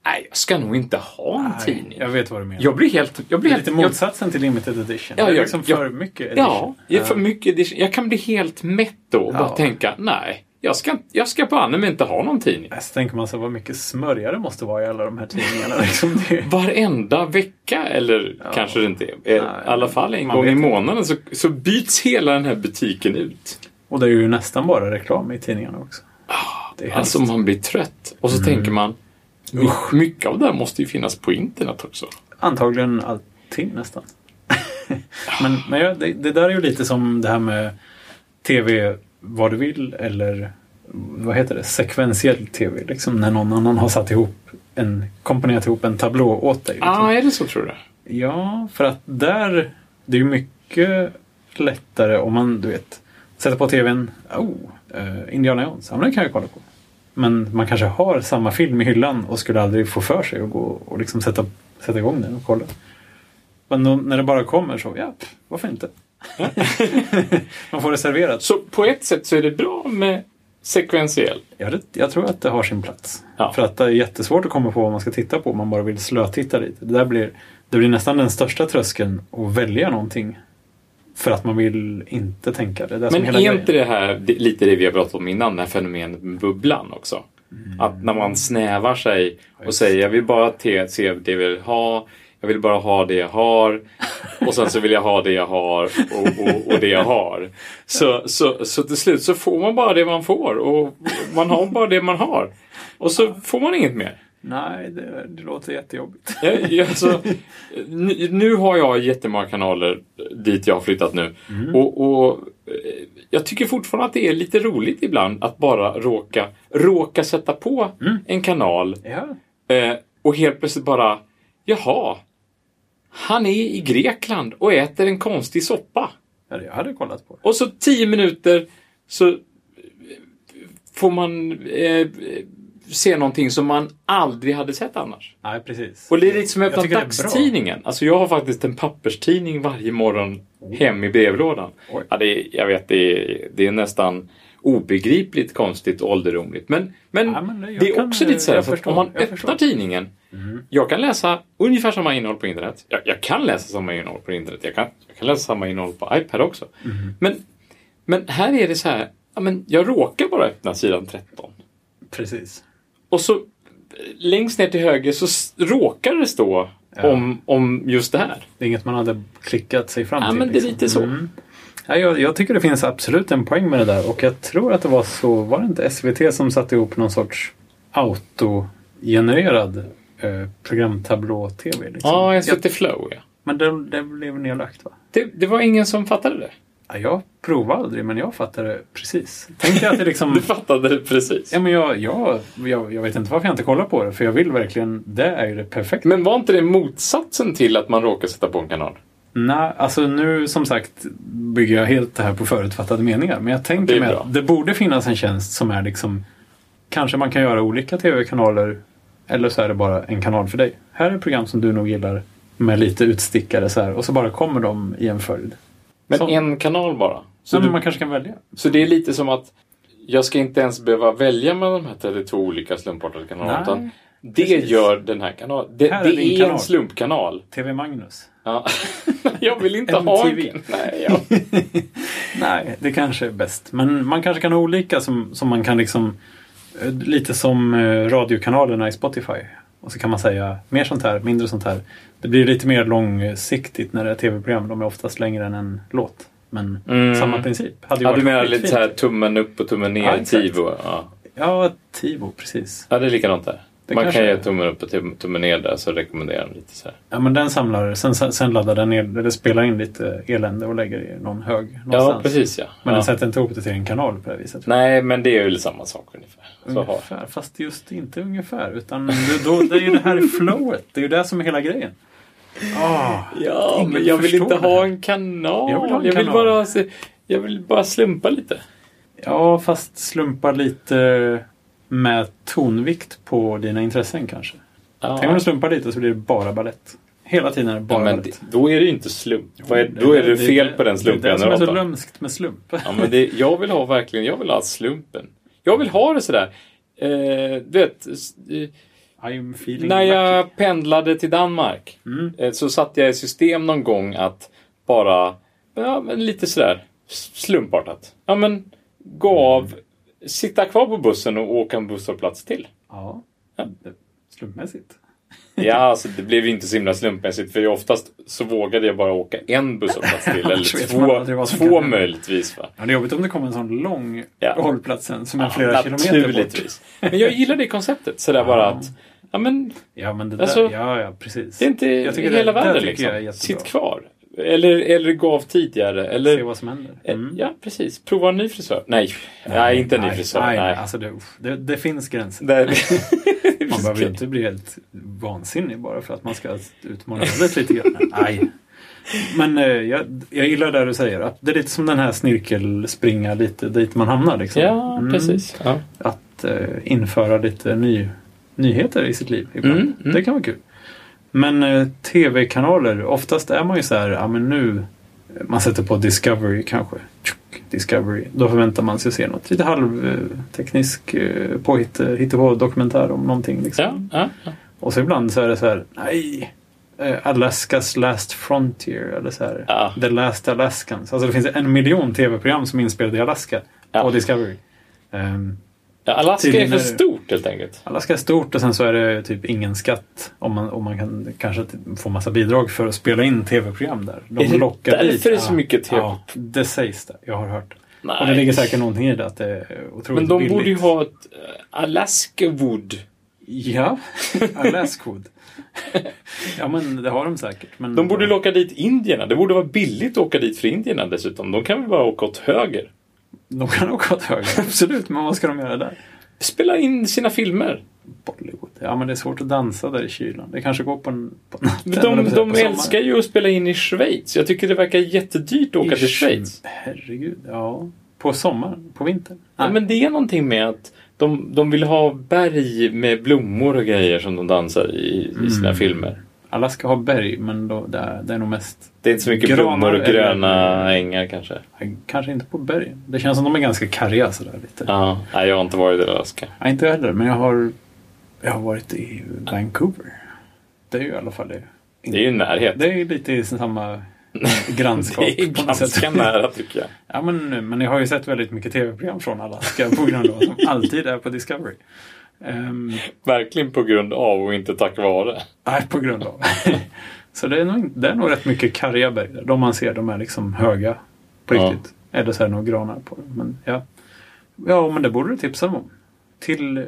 B: nej, jag ska nog inte ha en
A: Nej,
B: tidning.
A: jag vet vad du menar.
B: Jag blir helt... Jag blir
A: Det är
B: helt
A: lite
B: jag,
A: motsatsen till limited edition.
B: Ja,
A: det är
B: jag-
A: liksom
B: jag-
A: för mycket edition.
B: Ja, det är för mycket edition. Jag kan bli helt mätt då och bara
A: Ja.
B: tänka, nej, jag ska, jag ska banne mig inte ha någon tidning.
A: Ja, Så Alltså, tänker man sig vad mycket smörja det måste vara i alla de här tidningarna. Liksom det är-
B: Varenda vecka, eller kanske det inte är, i alla fall en gång i
A: vet inte.
B: månaden, så, så byts hela den här butiken ut.
A: och det är ju nästan bara reklam i tidningarna också. Det är
B: Alltså
A: hemskt.
B: man blir trött. Och så
A: Mm.
B: tänker man, my, mycket av det här måste ju finnas på internet också.
A: Antagligen allting nästan. men men ja, det, det där är ju lite som det här med tv vad du vill eller vad heter det, sekventiell tv. Liksom, när någon annan har satt ihop en, komponerat ihop en tablå åt dig. Liksom.
B: Ah, är det så tror du?
A: Ja, för att där, det är ju mycket lättare om man, du vet, sätter på tvn, oh, eh, Indiana Jones, ja men den kan jag kolla på. Men man kanske har samma film i hyllan och skulle aldrig få för sig att gå och liksom sätta, sätta igång den och kolla. Men då, när det bara kommer så, ja, pff, varför inte? man får det serverat.
B: Så på ett sätt så är det bra med sekventiell.
A: Ja, det, jag tror att det har sin plats.
B: Ja.
A: För att det är jättesvårt att komma på vad man ska titta på om man bara vill slötitta lite. Det, där blir, det blir nästan den största tröskeln att välja någonting. För att man vill inte tänka det. det är som
B: Men
A: hela
B: är inte
A: grejen.
B: det här det- lite det vi har pratat om innan, det här fenomenet med bubblan också? Att när man snävar sig och
A: Mm. just.
B: säger jag vill bara te- se det jag vill ha, jag vill bara ha det jag har och sen så vill jag ha det jag har och, och, och det jag har. Så, så, så till slut så får man bara det man får och man har bara det man har. Och så får man inget mer.
A: Nej, det, det låter jättejobbigt.
B: Jag, jag, alltså, nu, nu har jag jättemånga kanaler dit jag har flyttat nu. Och, och eh, Jag tycker fortfarande att det är lite roligt ibland att bara råka, råka sätta på en kanal
A: Ja,
B: eh, och helt plötsligt bara, jaha, han är i Grekland och äter en konstig soppa.
A: jag hade kollat på det.
B: Och så tio minuter så eh, får man eh, se någonting som man aldrig hade sett annars.
A: Nej, precis.
B: Och det är lite som att
A: Jag
B: öppna
A: tycker det är bra.
B: dagstidningen. Alltså jag har faktiskt en papperstidning varje morgon hem i brevlådan.
A: Oj.
B: Ja, det är, jag vet, det är, det är nästan obegripligt konstigt och ålderdomligt. Men, men,
A: Ja, men jag
B: det är
A: kan-
B: också lite så här,
A: jag
B: för att
A: förstår,
B: om man
A: jag
B: öppnar
A: förstår. Mm.
B: tidningen. Jag kan läsa ungefär samma innehåll på internet. Jag, jag kan läsa samma innehåll på internet. Jag kan, jag kan läsa samma innehåll på iPad också.
A: Mm.
B: Men, men här är det så här, ja, men jag råkar bara öppna sidan 13.
A: Precis.
B: Och så eh, längst ner till höger så s- råkar det stå om, om just det här.
A: Det är inget man hade klickat sig fram
B: Ja,
A: till. liksom. Mm.
B: men det är lite så.
A: Ja, jag, jag tycker det finns absolut en poäng med det där och jag tror att det var så, var det inte SVT som satte ihop någon sorts autogenererad eh, programtablå-tv? Liksom?
B: Ja, jag
A: Jag-
B: SVT Flow ja.
A: Men det, det blev nedlagt va?
B: Det, det var ingen som fattade det.
A: Ja, jag provade aldrig men jag fattade precis. Tänkte jag att det liksom...
B: Du fattade det precis.
A: Ja, men jag, jag, jag, jag vet inte varför jag inte kollar på det för jag vill verkligen, det är ju det perfekta.
B: Men var inte det motsatsen till att man råkar sätta på en kanal?
A: Nej, alltså nu som sagt bygger jag helt det här på förutfattade meningar. Men jag
B: Det
A: tänker
B: är
A: mig
B: bra.
A: att det borde finnas en tjänst som är liksom Kanske man kan göra olika tv-kanaler eller så är det bara en kanal för dig. Här är program som du nog gillar med lite utstickare så här och så bara kommer de i en följd.
B: Men
A: Som-
B: en kanal bara. Så,
A: Så
B: du,
A: man kanske kan välja.
B: så det är lite som att jag ska inte ens behöva välja mellan de här 32 olika slumpartade kanalerna.
A: Nej,
B: Utan det
A: precis.
B: gör den här kanalen. Det, det
A: Här är
B: är,
A: din
B: en
A: kanal.
B: slumpkanal.
A: TV Magnus?
B: Ja. jag vill inte ha
A: MTV.
B: en... Nej, jag
A: Nej, det kanske är bäst. Men man kanske kan ha olika som, som man kan liksom eh, Lite som eh, radiokanalerna i Spotify. Och så kan man säga mer sånt här, mindre sånt här. Det blir lite mer långsiktigt när det är tv-program. De är oftast längre än en låt. Men
B: Mm.
A: samma princip. Hade ju
B: Ja,
A: varit
B: du menar
A: skitfint.
B: lite så här tummen upp och tummen ner
A: Ja,
B: i
A: exakt.
B: Tivo? Ja.
A: Ja, Tivo, precis.
B: ja, det är likadant där.
A: Det
B: Man
A: kanske
B: kan
A: är.
B: ge tummen upp och tum- tummen ner där så rekommenderar de lite så här.
A: Ja, men den samlar, sen, sen sen laddar den ner, eller spelar in lite elände och lägger i någon hög någonstans.
B: Ja, precis ja.
A: Men
B: ja.
A: den sätter inte ihop det till en kanal på det här viset.
B: Nej, men det är väl samma sak ungefär. Så har-
A: Ungefär, fast just inte ungefär. Utan det, då, det är ju det här flowet. Det är ju det som är hela grejen. Ah,
B: Ja,
A: Ingen
B: men jag vill
A: förstår
B: inte
A: det här.
B: ha en kanal.
A: Jag vill ha en kanal.
B: bara, se- jag vill bara slumpa lite.
A: Ja, fast slumpa lite med tonvikt på dina intressen kanske.
B: Ja.
A: Tänk om du slumpar lite så blir det bara ballett. Hela tiden är det
B: Ja,
A: bara
B: men
A: ballett.
B: det, då är det ju inte slump. Vad är, då är det fel på den
A: Det är det som är så
B: slumpgeneratorn.
A: lömskt med slump.
B: Ja, men det, jag vill ha verkligen, jag vill ha slumpen. Jag vill ha det sådär. Eh, du vet, s- eh,
A: I'm feeling
B: När
A: lucky. Mm.
B: jag pendlade till Danmark eh, så satte jag i system någon gång att bara, ja men lite sådär s- slumpartat. Ja men gå
A: Mm.
B: av, sitta kvar på bussen och åka en busshållplats till.
A: Ja, det- slumpmässigt.
B: Ja, alltså det blev ju inte så himla slumpmässigt för jag oftast så vågade jag bara åka en busshållplats till
A: Annars
B: eller
A: vet man aldrig
B: två,
A: vad som kan
B: två
A: hända.
B: möjligtvis. Va?
A: Ja, det är jobbigt om det kommer en sån lång
B: Ja.
A: hållplats sen som är
B: Ja,
A: flera kilometer bort.
B: naturligtvis. Men jag gillar det konceptet sådär bara att, ja men
A: Ja, men det där,
B: Alltså,
A: ja, ja, precis.
B: Det är inte
A: Jag tycker
B: hela
A: det- det
B: världen
A: tycker jag är
B: liksom.
A: jättebra.
B: Sitt kvar. Eller, eller gav tidigare. Eller,
A: Se vad som händer. Mm.
B: eh, Ja, precis. Prova en ny frisör. Nej, nej, inte en ny frisör. Nej.
A: Nej, Alltså det, uff, det, det finns gränser.
B: Där-
A: Man behöver ju inte bli helt vansinnig bara för att man ska utmana det lite grann. Nej. Men eh, jag, jag gillar det du säger, att det är lite som den här snirkelspringa lite dit man hamnar. Liksom.
B: Ja,
A: Mm.
B: precis. Ja.
A: Att eh, införa lite ny, nyheter i sitt liv ibland.
B: Mm, mm.
A: Det kan vara kul. Men eh, tv-kanaler, oftast är man ju så här, ja men nu, eh, man sätter på Discovery kanske. Tjock, Discovery, då förväntar man sig att se något lite halvteknisk eh, påhitt, eh, hittepå-dokumentär om någonting. Liksom.
B: Ja, ja, ja.
A: Och så ibland så är det så här, nej, eh, Alaskas last frontier eller så här,
B: Ja.
A: The last Alaskans. Alltså det finns en miljon tv-program som är inspelade i Alaska
B: Ja.
A: på Discovery. Ehm,
B: Ja, Alaska är
A: Tydligen
B: för
A: är det-
B: stort helt enkelt.
A: Alaska är stort och sen så är det typ ingen skatt om man, om man kan kanske t- få massa bidrag för att spela in tv-program där. De
B: Är det
A: lockar
B: därför
A: dit.
B: det är så
A: Ja.
B: mycket TV?
A: Ja, det sägs det. Jag har hört.
B: Nej.
A: Och det ligger säkert någonting i det att det är otroligt
B: Men de
A: billigt.
B: borde ju ha ett eh, Alaska Wood.
A: Ja, Alaskwood. ja men det har de säkert. Men
B: De borde ju locka dit indierna. Det borde vara billigt att åka dit för indierna dessutom. De kan väl bara åka åt höger.
A: De kan åka åt höger, absolut. Men vad ska de göra där?
B: Spela in sina filmer.
A: Bollywood. Ja, men det är svårt att dansa där i kylan. Det kanske går på, en, på
B: De,
A: natten.
B: de,
A: eller på sommaren.
B: älskar ju att spela in i Schweiz. Jag tycker det verkar jättedyrt att åka till
A: Ish,
B: Schweiz.
A: Herregud, ja. På sommaren? På vintern?
B: Ja, men det är någonting med att de, de vill ha berg med blommor och grejer som de dansar i, i sina
A: Mm.
B: filmer.
A: Alaska har berg, men då, det, är, det är nog mest...
B: Det är inte så mycket
A: Granar
B: blommor och
A: eller-
B: gröna ängar kanske.
A: Nej, Kanske inte på berg. Det känns som de är ganska karga sådär lite.
B: Ja, nej, jag har inte varit i Alaska.
A: Nej, inte jag heller, men jag har, jag har varit i Vancouver. Det är ju i alla fall det.
B: Det är ju närhet.
A: Det är ju lite i samma grannskap.
B: Det är
A: på något sätt.
B: ganska nära tycker jag.
A: Ja, men, men jag har ju sett väldigt mycket tv-program från Alaska på grund av som alltid är på Discovery. Ehm,
B: Verkligen på grund av och inte tack vare.
A: nej, på grund av. så det är, nog, inte- det är nog rätt mycket karga berg där. De man ser, de är liksom höga på
B: Ja.
A: riktigt. Eller så är det några granar på dem. Men, ja. ja, men det borde du tipsa dem om. Till, eh,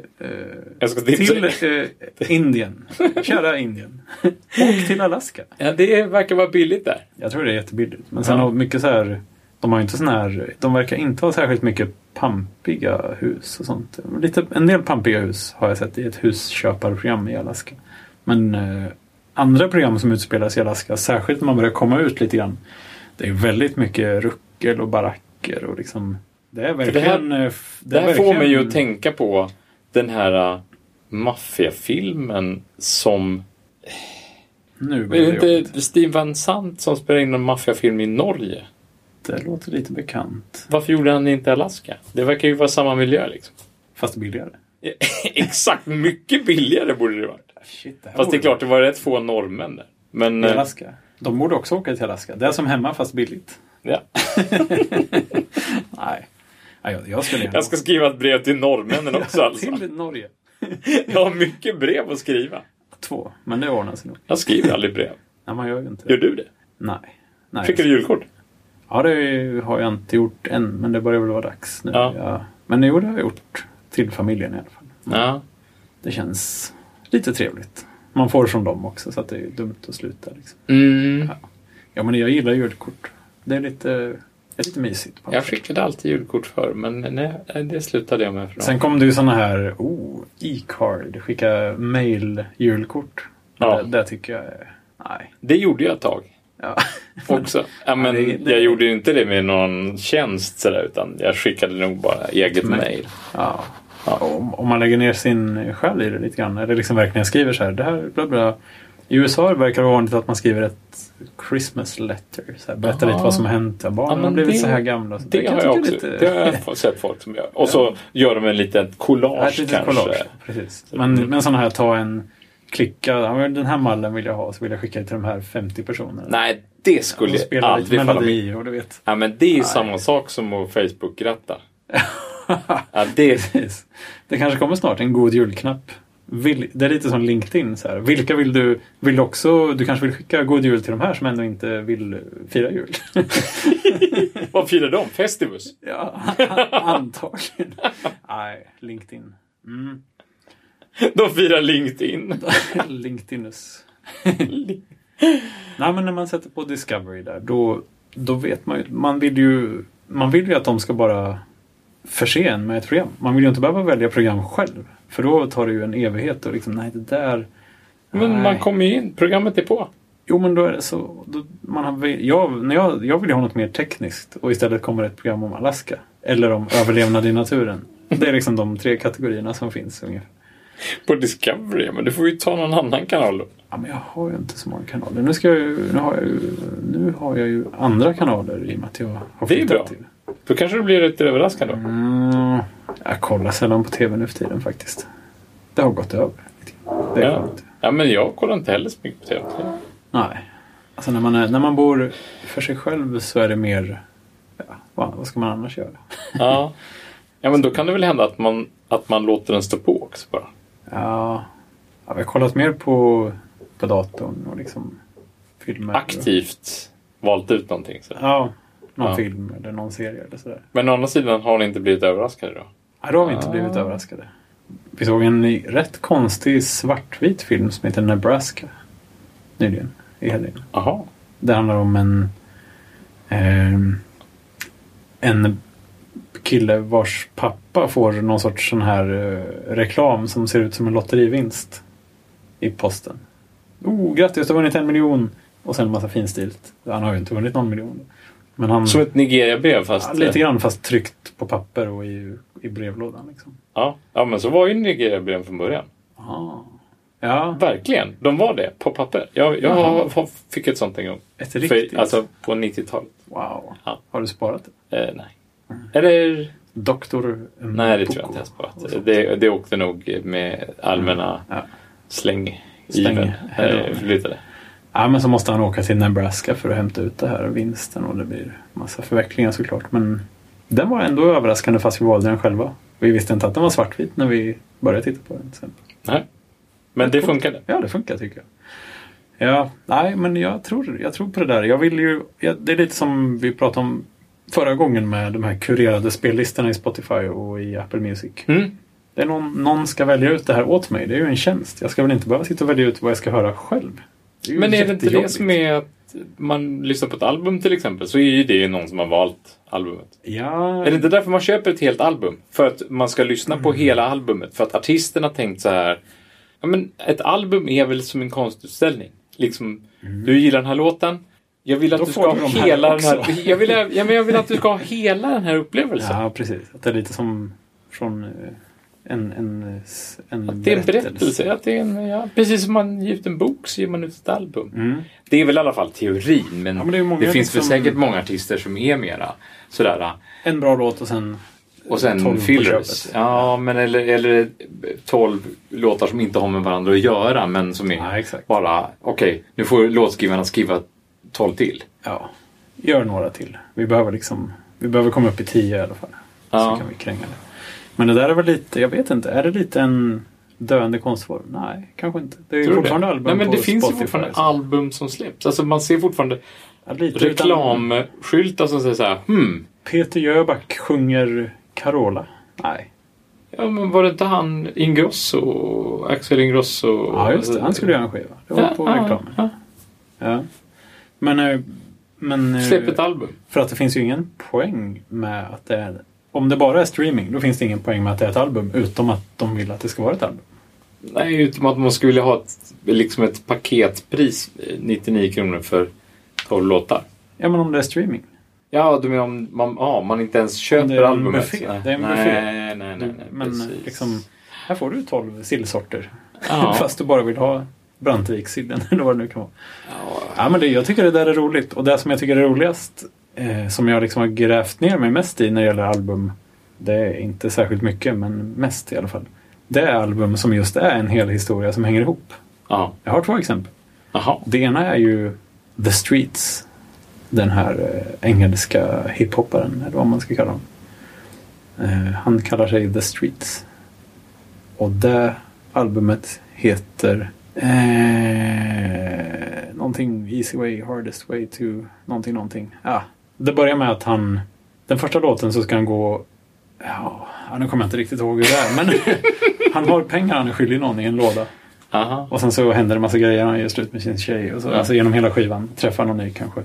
B: Jag ska tipsa-
A: till eh, Indien. Kära Indien. Och till Alaska.
B: Ja, det verkar vara billigt där.
A: Jag tror det är jättebilligt. Men sen
B: Ja.
A: har mycket så här, de har ju inte sån här, de verkar inte ha särskilt mycket pampiga hus och sånt. Lite, en del pampiga hus har jag sett i ett husköparprogram i Alaska. Men eh, andra program som utspelas i Alaska, särskilt när man börjar komma ut lite grann, det är väldigt mycket ruckel och baracker och liksom det är
B: det här-
A: verkligen... eh, f-
B: Det här
A: är
B: får
A: verkligen-
B: mig ju att tänka på den här äh, maffiafilmen som...
A: Nu
B: Är
A: blir det,
B: det
A: jobbigt.
B: inte Steve Van Sant som spelade in en maffiafilm i Norge?
A: det låter lite bekant.
B: Varför gjorde han det inte i Alaska? Det verkar ju vara samma miljö liksom.
A: Fast billigare.
B: Exakt, mycket billigare borde det varit.
A: Ah, Shit, här
B: Fast det är
A: borde-
B: klart, det var rätt få norrmän där. Men...
A: I
B: äh,
A: Alaska. De borde också åka till Alaska. Det är som hemma fast billigt.
B: Ja.
A: Nej. Nej, Jag, jag skulle gärna
B: Jag ska skriva ett brev till norrmännen också alltså.
A: till Norge.
B: Jag har mycket brev att skriva.
A: Två, men det ordnar sig nog.
B: Jag skriver aldrig brev.
A: Nej, man gör ju inte
B: Gör
A: det.
B: du det?
A: Nej. Nej.
B: Skickar du julkort?
A: Ja, det har jag inte gjort än, men det börjar väl vara dags nu.
B: Ja.
A: Ja. Men jo, det har jag gjort. Till familjen i alla fall.
B: Ja.
A: Det känns lite trevligt. Man får från dem också, så att det är ju dumt att sluta. Liksom.
B: Mm.
A: Ja, men jag gillar julkort. Det är lite, det är lite mysigt. på något
B: Jag
A: sätt.
B: skickade alltid julkort förr, men nej, det slutade jag med för
A: Sen kom det ju såna här, oh, e-card, skicka mail-julkort.
B: Ja.
A: Det, det tycker jag är, nej.
B: Det gjorde jag ett tag
A: Ja.
B: också. Ja, men
A: Ja, det- det-
B: Jag gjorde ju inte det med någon tjänst sådär, utan jag skickade nog bara eget
A: Men-
B: mejl.
A: ja. Om, om man lägger ner sin själ i det lite grann, eller liksom verkligen skriver så här, det här bla bla. I USA verkar det vara vanligt att man skriver ett Christmas letter, så här, berätta
B: Jaha.
A: lite vad som har hänt, ja, barnen har
B: Ja, men
A: blivit
B: det-
A: så här gamla. Så
B: Det,
A: kan
B: har jag också.
A: tycka är
B: Det har jag sett folk som gör. Och så gör de en liten
A: Ja,
B: collage
A: ett litet
B: kanske. Mm.
A: collage. Precis. Men, men sådana här, ta en, klicka, ja, men den här mallen vill jag ha, så vill jag skicka det till de här 50 personerna.
B: Nej, det skulle
A: Och
B: jag
A: spela lite
B: aldrig falla mig
A: melodier och du vet.
B: ja, men Det är ju samma sak som att Facebook-gratta. Ja, det,
A: Precis. Det kanske kommer snart en god julknapp. Vill, det är lite som LinkedIn. Så här. Vilka vill du, vill också, du kanske vill skicka god jul till de här som ändå inte vill fira jul?
B: vad firar de? Festivus?
A: ja, an- antagligen. Nej, LinkedIn. Mm.
B: De firar LinkedIn.
A: LinkedInus. Nej, men när man sätter på Discovery där, då, då vet man ju. Man vill ju, man vill ju att de ska bara förse en med ett program. Man vill ju inte behöva välja program själv. För då tar det ju en evighet och liksom, nej det där...
B: Men
A: nej.
B: man kommer ju in, programmet är på.
A: Jo, men då är det så. Då, man har, jag, när jag, jag vill ju ha något mer tekniskt och istället kommer ett program om Alaska. Eller om överlevnad i naturen. Det är liksom de tre kategorierna som finns ungefär.
B: På Discovery, men du får ju ta någon annan kanal då.
A: Ja, men jag har ju inte så många kanaler. Nu, ska jag ju, nu, har, jag ju, nu har jag ju andra kanaler i och med att jag har
B: Det är bra.
A: till.
B: Då kanske du blir lite överraskad då.
A: Mm, jag kollar sällan på TV nu för tiden faktiskt. Det har gått över. lite grann. Det är
B: Ja.
A: skönt.
B: ja, men jag kollar inte heller så mycket på TV.
A: Nej. Alltså när man, är, när man bor för sig själv så är det mer... Ja, vad, vad ska man annars göra?
B: Ja. ja, men då kan det väl hända att man, att man låter den stå på också bara.
A: Ja, jag har kollat mer på, på datorn och liksom filmer. och-
B: Aktivt valt ut någonting. Så.
A: Ja, någon
B: Ja.
A: film eller någon serie eller sådär.
B: Men å andra sidan har ni inte blivit överraskade då?
A: Ja, då har vi inte blivit
B: Ah.
A: överraskade. Vi såg en ny- rätt konstig svartvit film som heter Nebraska nyligen, i helgen.
B: Jaha.
A: Det handlar om en, ehm, en kille vars pappa får någon sorts sån här eh, reklam som ser ut som en lotterivinst i posten. Oh, grattis, du har vunnit en miljon! Och sen en massa finstilt. Han har ju inte vunnit någon miljon. Men han,
B: Som ett Nigeria-brev fast... eh,
A: ja, lite grann fast tryckt på papper och i, i brevlådan. Liksom.
B: Ja. ja, men så var ju Nigeria-brev från början.
A: Ah. Ja,
B: Verkligen. De var det, på papper. Jag, jag
A: Jaha.
B: har- fick ett sånt en gång.
A: ett riktigt...
B: För, alltså på 90-talet.
A: wow.
B: Ja.
A: Har du sparat det?
B: Eh, nej. Eller?
A: Doktor
B: Nej, det
A: Mpoko
B: tror jag inte jag sparat.
A: och sånt.
B: Det, det åkte nog med allmänna
A: Ja.
B: släng. Eh,
A: Släng.
B: Släng.
A: Ja.
B: Flyttade.
A: Ja, men så måste han åka till Nebraska för att hämta ut det här vinsten och det blir massa förvecklingar såklart. Men den var ändå överraskande fast vi valde den själva. Vi visste inte att den var svartvit när vi började titta på den. till exempel.
B: Nej. Men det funkade.
A: Ja, det funkar tycker jag. Ja, nej, men jag tror, jag tror på det där. Jag vill ju, jag, det är lite som vi pratade om förra gången med de här kurerade spellistorna i Spotify och i Apple Music.
B: Mm.
A: Det är någon, någon ska välja ut det här åt mig. Det är ju en tjänst. Jag ska väl inte behöva sitta och välja ut vad jag ska höra själv. ju
B: Men är det inte det
A: jättejobbigt.
B: som är att man lyssnar på ett album till exempel så är ju det någon som har valt albumet.
A: Ja,
B: Är det inte därför man köper ett helt album? För att man ska lyssna på hela albumet. För att artisten har tänkt så här. Ja, men ett album är väl som en konstutställning. Liksom, du gillar den här låten. Jag vill
A: Mm.
B: att
A: Då
B: du
A: får
B: ska
A: du
B: ha
A: de här
B: hela den
A: också.
B: här... Jag vill, ja, men jag vill att du ska ha hela den här upplevelsen.
A: Ja, precis. Att det är lite som från eh, en, en, s- en
B: det är en berättelse. Att det är en, ja, precis som man ger ut en bok så ger man ut ett album.
A: Mm.
B: Det är väl i alla fall teorin. Men,
A: Ja, men det är ju många
B: finns
A: liksom-
B: väl säkert många artister som är mera sådär. ah,
A: En bra låt och sen... Tolv
B: Och sen
A: på
B: fillers.
A: köpet.
B: Ja, men eller, eller 12 låtar som inte har med varandra att göra men som är
A: Ja, exakt.
B: bara, okej, nu får låtskrivarna skriva 12 till.
A: Ja, gör några till. Vi behöver liksom... Vi behöver komma upp i tio i alla fall.
B: Ja.
A: Så kan vi kränga det. Men det där är väl lite... Jag vet inte. Är det lite en döende konstform? Nej, kanske inte. Det är ju
B: Tror du
A: fortfarande
B: det?
A: album
B: Nej, men
A: på
B: det finns ju
A: Spotify.
B: fortfarande
A: så-
B: album som släpps. Alltså man ser fortfarande
A: Ja, lite, utan-
B: reklamskyltar som säger så här, hmm,
A: Peter Jöback sjunger Carola. Nej.
B: ja men var det inte han Ingrosso, Axel Ingrosso?
A: Ja, just det. Han skulle göra en skiva. Det var
B: Ja,
A: på
B: ja,
A: reklamen.
B: ja.
A: Ja. Men... eh, Men... eh,
B: Släpp ett album.
A: För att det finns ju ingen poäng med att det är... Om det bara är streaming, då finns det ingen poäng med att det är ett album, utom att de vill att det ska vara ett album.
B: Nej, utom att man skulle vilja ha ett, liksom ett paketpris, eh, 99 kronor för 12 låtar.
A: Ja, men om det är streaming.
B: Ja, du menar om man, ja, man inte ens köper
A: Det är en
B: albumet?
A: buffé.
B: Nej.
A: Det är en
B: nej,
A: buffé.
B: nej, nej, nej,
A: men
B: precis.
A: liksom, här får du 12 sillsorter.
B: Ja.
A: Fast du bara vill ha Brantvikssillen, eller vad det nu kan vara.
B: Ja,
A: Ja, men det, jag tycker det där är roligt. Och det som jag tycker är roligast, eh, som jag liksom har grävt ner mig mest i när det gäller album, det är inte särskilt mycket, men mest i alla fall. Det är album som just är en hel historia som hänger ihop.
B: ja.
A: Jag har två exempel.
B: Jaha.
A: Det ena är ju The Streets. Den här eh, engelska hiphopparen, eller vad man ska kalla honom. Eh, han kallar sig The Streets. Och det albumet heter eh, någonting Easy Way, Hardest Way to någonting, någonting. Ja, det börjar med att han, den första låten så ska han gå, ja, nu kommer jag inte riktigt ihåg hur det är, men han har pengar han är skyldig någon i en låda.
B: Aha.
A: Och sen så händer det massa grejer, han gör slut med sin tjej. Och så,
B: Ja.
A: Alltså genom hela skivan. Träffar någon ny kanske.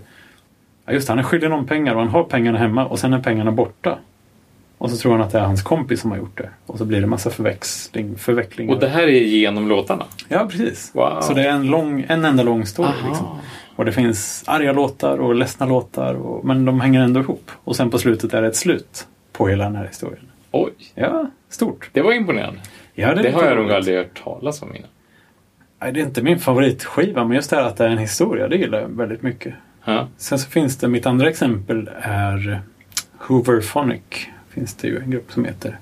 A: Ja, just det, han är skyldig någon pengar och han har pengarna hemma och sen är pengarna borta. Och så tror han att det är hans kompis som har gjort det. Och så blir det massa förväxling, förvecklingar.
B: Och det här är genom låtarna?
A: Ja, precis.
B: Wow.
A: Så det är en, lång, en enda lång story.
B: Aha.
A: Liksom. Och det finns arga låtar och ledsna låtar. Och, men de hänger ändå ihop. Och sen på slutet är det ett slut på hela den här historien.
B: Oj,
A: Ja, stort.
B: det var imponerande.
A: Ja, är
B: Det har
A: lite
B: jag nog
A: roligt.
B: aldrig hört talas om innan.
A: Nej, Det är inte min favoritskiva, men just det här att det är en historia, det gillar jag väldigt mycket.
B: Ja.
A: Sen så finns det, mitt andra exempel är Hooverphonic. Finns det ju en grupp som heter.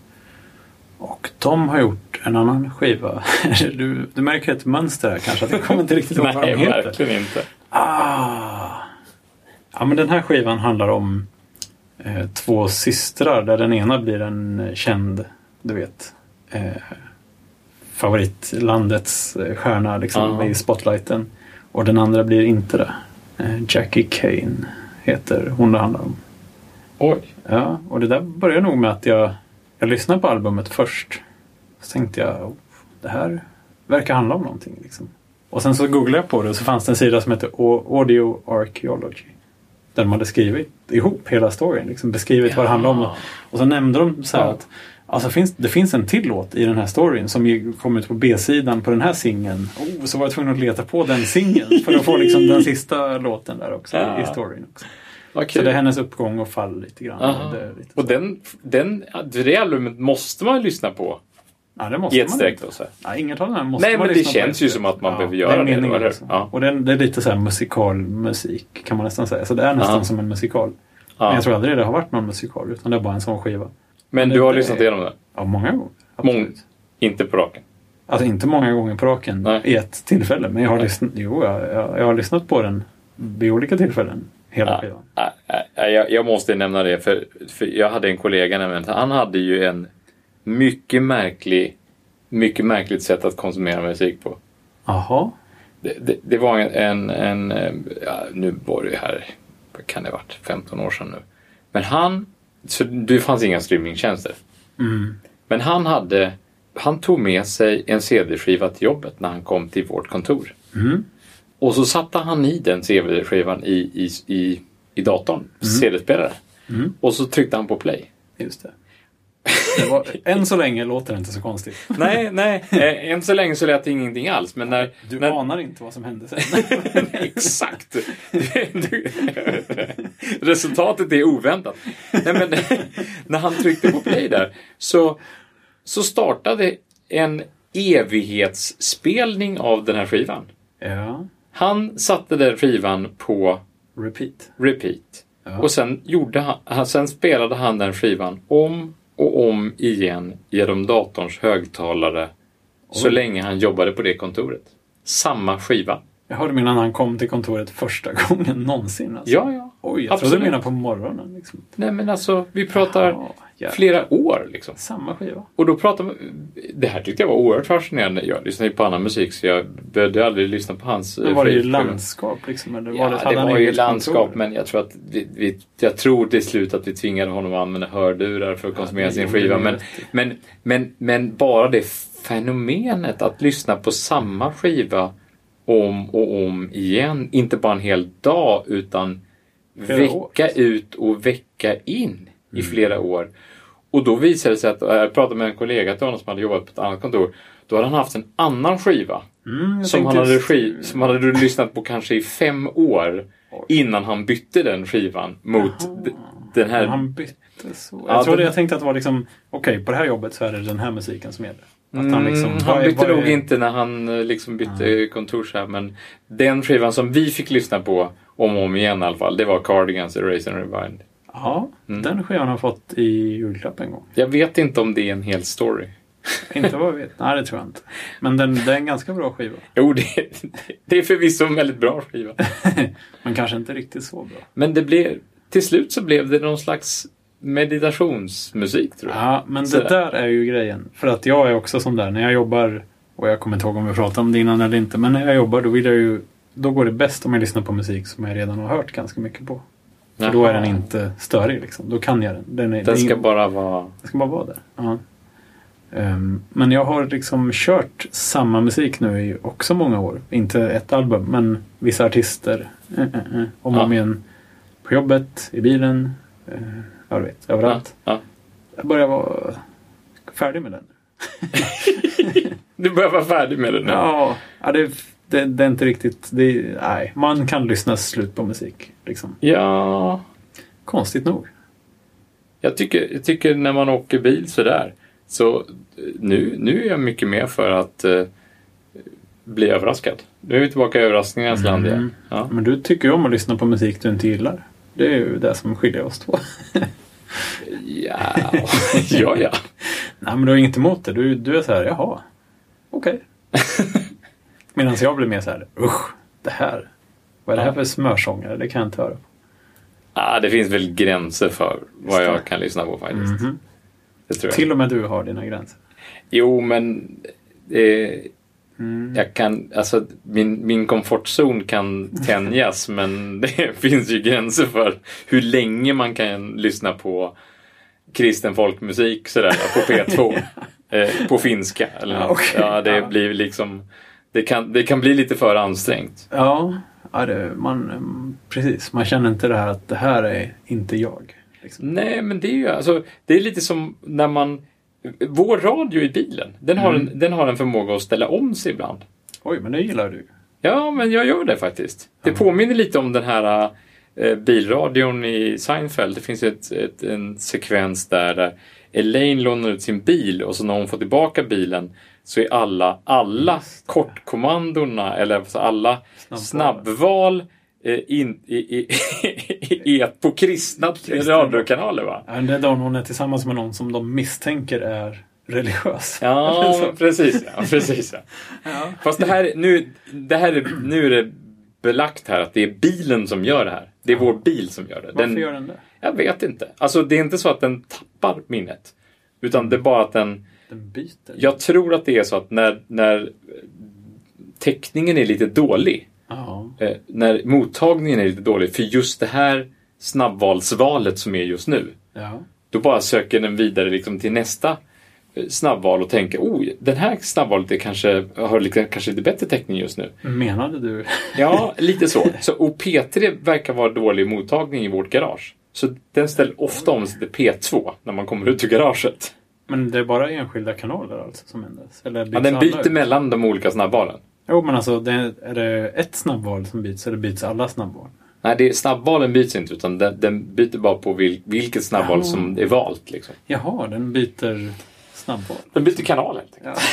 A: Och de har gjort en annan skiva. Du, du märker ett mönster här kanske, att jag kommer inte riktigt ihåg vad de
B: Nej,
A: heter.
B: verkligen inte.
A: Ah. Ja, men den här skivan handlar om eh, två systrar där den ena blir en eh, känd, du vet, eh, favoritlandets eh, stjärna liksom,
B: Ja.
A: i spotlighten. Och den andra blir inte det. Eh, Jackie Kane heter hon det handlar om.
B: Oj.
A: Ja, och det där började nog med att jag, jag lyssnade på albumet först. Så tänkte jag, "Oh, det här verkar handla om någonting. Liksom. Och sen så googlade jag på det och så fanns det en sida som hette Au- Audio Archaeology. Där de hade skrivit ihop hela storyn, liksom beskrivit vad det handlar om.
B: Ja.
A: Och så nämnde de så här
B: Ja.
A: att alltså finns, det finns en till låt i den här storyn som ju kom ut på B-sidan på den här singeln. Oh, så var jag tvungen att leta på den singeln för att få liksom den sista låten där också
B: Ja.
A: i storyn. Också.
B: Vad
A: Så
B: kul.
A: det är hennes uppgång och fall lite grann.
B: Aha.
A: Det är lite
B: Och den, den, det albumet måste man ju lyssna på
A: Ja, det måste
B: i
A: man
B: ett streck.
A: inte.
B: Då, så här.
A: Nej, inget av de här måste
B: Nej,
A: man
B: men det
A: lyssna på
B: känns ju
A: efter.
B: som att man behöver göra det,
A: Det är meningen.
B: eller hur?
A: liksom.
B: Ja.
A: Och den, det är lite så här musikal musik kan man nästan säga. Så det är nästan
B: Ja.
A: som en musikal. Men
B: Ja.
A: jag tror aldrig det har varit någon musikal utan det är bara en sån skiva.
B: Men du har lyssnat igenom den?
A: Ja, många gånger.
B: Mång, inte på raken?
A: Alltså inte många gånger på raken
B: Nej.
A: i ett tillfälle. Men jag har,
B: Nej.
A: lyssnat, jo, jag, jag, jag har lyssnat på den vid olika tillfällen. Hela
B: Ja,
A: skivan.
B: ja, ja, jag, jag måste nämna det, för, för jag hade en kollega nämligen. Han hade ju en mycket märklig, mycket märkligt sätt att konsumera musik på.
A: Jaha.
B: Det, det, det var en, en, en eh, ja, nu var det ju här, vad kan det ha varit, 15 år sedan nu. Men han, så det fanns inga streamingtjänster.
A: Mm.
B: Men han hade, han tog med sig en CD-skiva till jobbet när han kom till vårt kontor.
A: Mm.
B: Och så satte han i den CD-skivan i, i, i, i datorn, CD-spelaren.
A: Mm.
B: Och så tryckte han på play.
A: Just det. det var, än så länge låter det inte så konstigt.
B: Nej, nej. eh, Än så länge så lät det ingenting alls. Men när...
A: Du
B: när
A: anar inte vad som hände sen.
B: Exakt! Du- Resultatet är oväntat. Nej, men, när han tryckte på play där så, så startade en evighetsspelning av den här skivan.
A: ja.
B: Han satte den skivan på
A: Repeat.
B: repeat.
A: Ja.
B: Och sen, gjorde han, han- sen spelade han den skivan om och om igen genom datorns högtalare så länge han jobbade på det kontoret. Samma skiva.
A: Jag hörde menar när han kom till kontoret första gången någonsin. Alltså.
B: Ja, ja.
A: Oj, jag
B: Absolut.
A: trodde du menade på morgonen. Liksom.
B: Nej, men alltså, vi pratar
A: Ja, jävlar.
B: flera år liksom.
A: Samma skiva.
B: Och då pratar man... Det här tyckte jag var oerhört fascinerande. Jag lyssnade ju på annan musik så jag behövde aldrig lyssna på hans... eh,
A: Men var det ju
B: skiva.
A: landskap liksom? Eller var
B: Ja, det
A: hade han
B: var ju
A: eget
B: landskap,
A: kontor?
B: men jag tror att vi, vi, jag tror till slut att vi tvingade honom att använda hörlurar för att konsumera
A: det
B: sin
A: gjorde
B: skiva.
A: vi
B: Men,
A: rätt
B: men, men, men bara det fenomenet att lyssna på samma skiva om och om igen, inte bara en hel dag utan
A: Flera år. Mm.
B: vecka ut och vecka in i flera år. Och då visade det sig att, jag pratade med en kollega till honom som hade jobbat på ett annat kontor, då hade han haft en annan skiva
A: Mm, jag
B: som han,
A: tänkte
B: hade
A: just-
B: skiv, som han hade lyssnat på kanske i fem år innan han bytte den skivan mot d- den här.
A: Men Han bytte så.
B: Ja,
A: Jag, trodde,
B: den-
A: jag tänkte att det var liksom, okej, på det här jobbet så är det den här musiken som gäller. Att liksom-
B: Mm, han,
A: vad är-
B: bytte
A: vad är-
B: nog inte när han eh, liksom bytte eh, kontor så här, men den skivan som vi fick lyssna på om och om igen i alla fall, det var Cardigans Erase and Rewind.
A: Ja,
B: Mm.
A: den skivan har jag fått i julklapp en gång.
B: Jag vet inte om det är en hel story.
A: inte vad jag vet. Nej, det tror jag inte. Men den, det är en ganska bra skiva.
B: Jo, det, det är förvisso en väldigt bra skiva.
A: Men kanske inte riktigt så bra.
B: Men det blev, till slut så blev det någon slags meditationsmusik tror jag.
A: Ja, men
B: Sådär.
A: det där är ju grejen. För att jag är också som där, när jag jobbar, och jag kommer inte ihåg om vi pratade om det innan eller inte, men när jag jobbar då vill jag ju, då går det bäst om jag lyssnar på musik som jag redan har hört ganska mycket på. För då är den inte störig liksom. Då kan jag den. Den, är,
B: Den ska
A: ingen-
B: bara vara...
A: den ska bara vara där. Ja. Ehm, Men jag har liksom kört samma musik nu i också många år. Inte ett album, men vissa artister. Eh, eh, eh. Om och om
B: Ja.
A: igen. På jobbet, i bilen, eh, ja du vet, överallt.
B: Ja.
A: Jag börjar vara färdig med den.
B: Du börjar vara färdig med det nu.
A: Ja, ja det, det, det är inte riktigt... Det, nej, man kan lyssna slut på musik. Liksom.
B: ja.
A: Konstigt nog.
B: Jag tycker, jag tycker när man åker bil sådär, så eh, nu, nu är jag mycket mer för att eh, bli överraskad. Nu är vi tillbaka i överraskningarnas land
A: Mm.
B: igen. Ja.
A: Men du tycker ju om att lyssna på musik du inte gillar. Det är ju det som skiljer oss två.
B: Ja. ja, ja.
A: Nej, men du har inget emot det. Du, du är så här, jaha, okej. Medan jag blir mer så här, usch, det här. Vad är det här för smörsångare? Det kan jag inte höra. på."
B: Ah, det finns väl gränser för vad
A: det.
B: jag kan lyssna på faktiskt.
A: Mhm.
B: Det tror jag.
A: Mm. Till och med du har dina gränser.
B: Jo, men eh,
A: Mm.
B: jag kan, alltså, min, min komfortzon kan tänjas men det finns ju gränser för hur länge man kan lyssna på kristen folkmusik sådär, på P2. eh, på finska. Eller
A: Ja,
B: något.
A: okej.
B: ja, det
A: Ja.
B: blir liksom det kan, det kan bli lite för ansträngt.
A: Ja, ja det, man, mm, precis. Man känner inte det här att det här är inte jag. Liksom.
B: Nej, men det är ju alltså, det är lite som när man vår radio i bilen, den
A: Mm.
B: har, en, den har en förmåga att ställa om sig ibland.
A: Oj, men det gillar du.
B: Ja, men jag gör det faktiskt. Det påminner lite om den här eh, bilradion i Seinfeld. Det finns ett, ett, en sekvens där, där Elaine lånar ut sin bil och så när hon får tillbaka bilen så är alla, alla kortkommandona eller alltså alla
A: Snabbval.
B: snabbval, eh, in, i, i, i, i, på kristna radiokanaler. Va?
A: Ja, Det är då hon är tillsammans med någon som de misstänker är religiös.
B: Ja,
A: Eller så.
B: precis. Ja, precis ja. Fast det här, nu, det här är, nu är det belagt här att det är bilen som gör det här. Det är vår bil som gör det.
A: Varför gör den det?
B: Jag vet inte. Alltså det är inte så att den tappar minnet. Utan det är bara att den...
A: Den byter.
B: Jag tror att det är så att när, när teckningen är lite dålig,
A: Ja.
B: eh, när mottagningen är lite dålig för just det här snabbvalsvalet som är just nu,
A: ja.
B: då bara söker den vidare liksom till nästa eh, snabbval och tänker oh, den här snabbvalet är kanske, har lite, kanske lite bättre täckning just nu.
A: Menade du?
B: Ja, lite så. så och P3 verkar vara dålig mottagning i vårt garage. Så den ställer ofta om sig till P2 när man kommer ut ur garaget.
A: Men det är bara enskilda kanaler alltså som ändras? Eller byts
B: Ja, den
A: alla
B: byter
A: ut?
B: mellan de olika snabbvalen.
A: Jo, men alltså det är, är det ett snabbval som byts eller byts alla snabbval?
B: Nej, det, snabbvalen byts inte utan den, den byter bara på vil, vilket snabbval
A: Ja.
B: som är valt. Liksom.
A: Jaha, den byter snabbval.
B: Den byter kanal helt enkelt.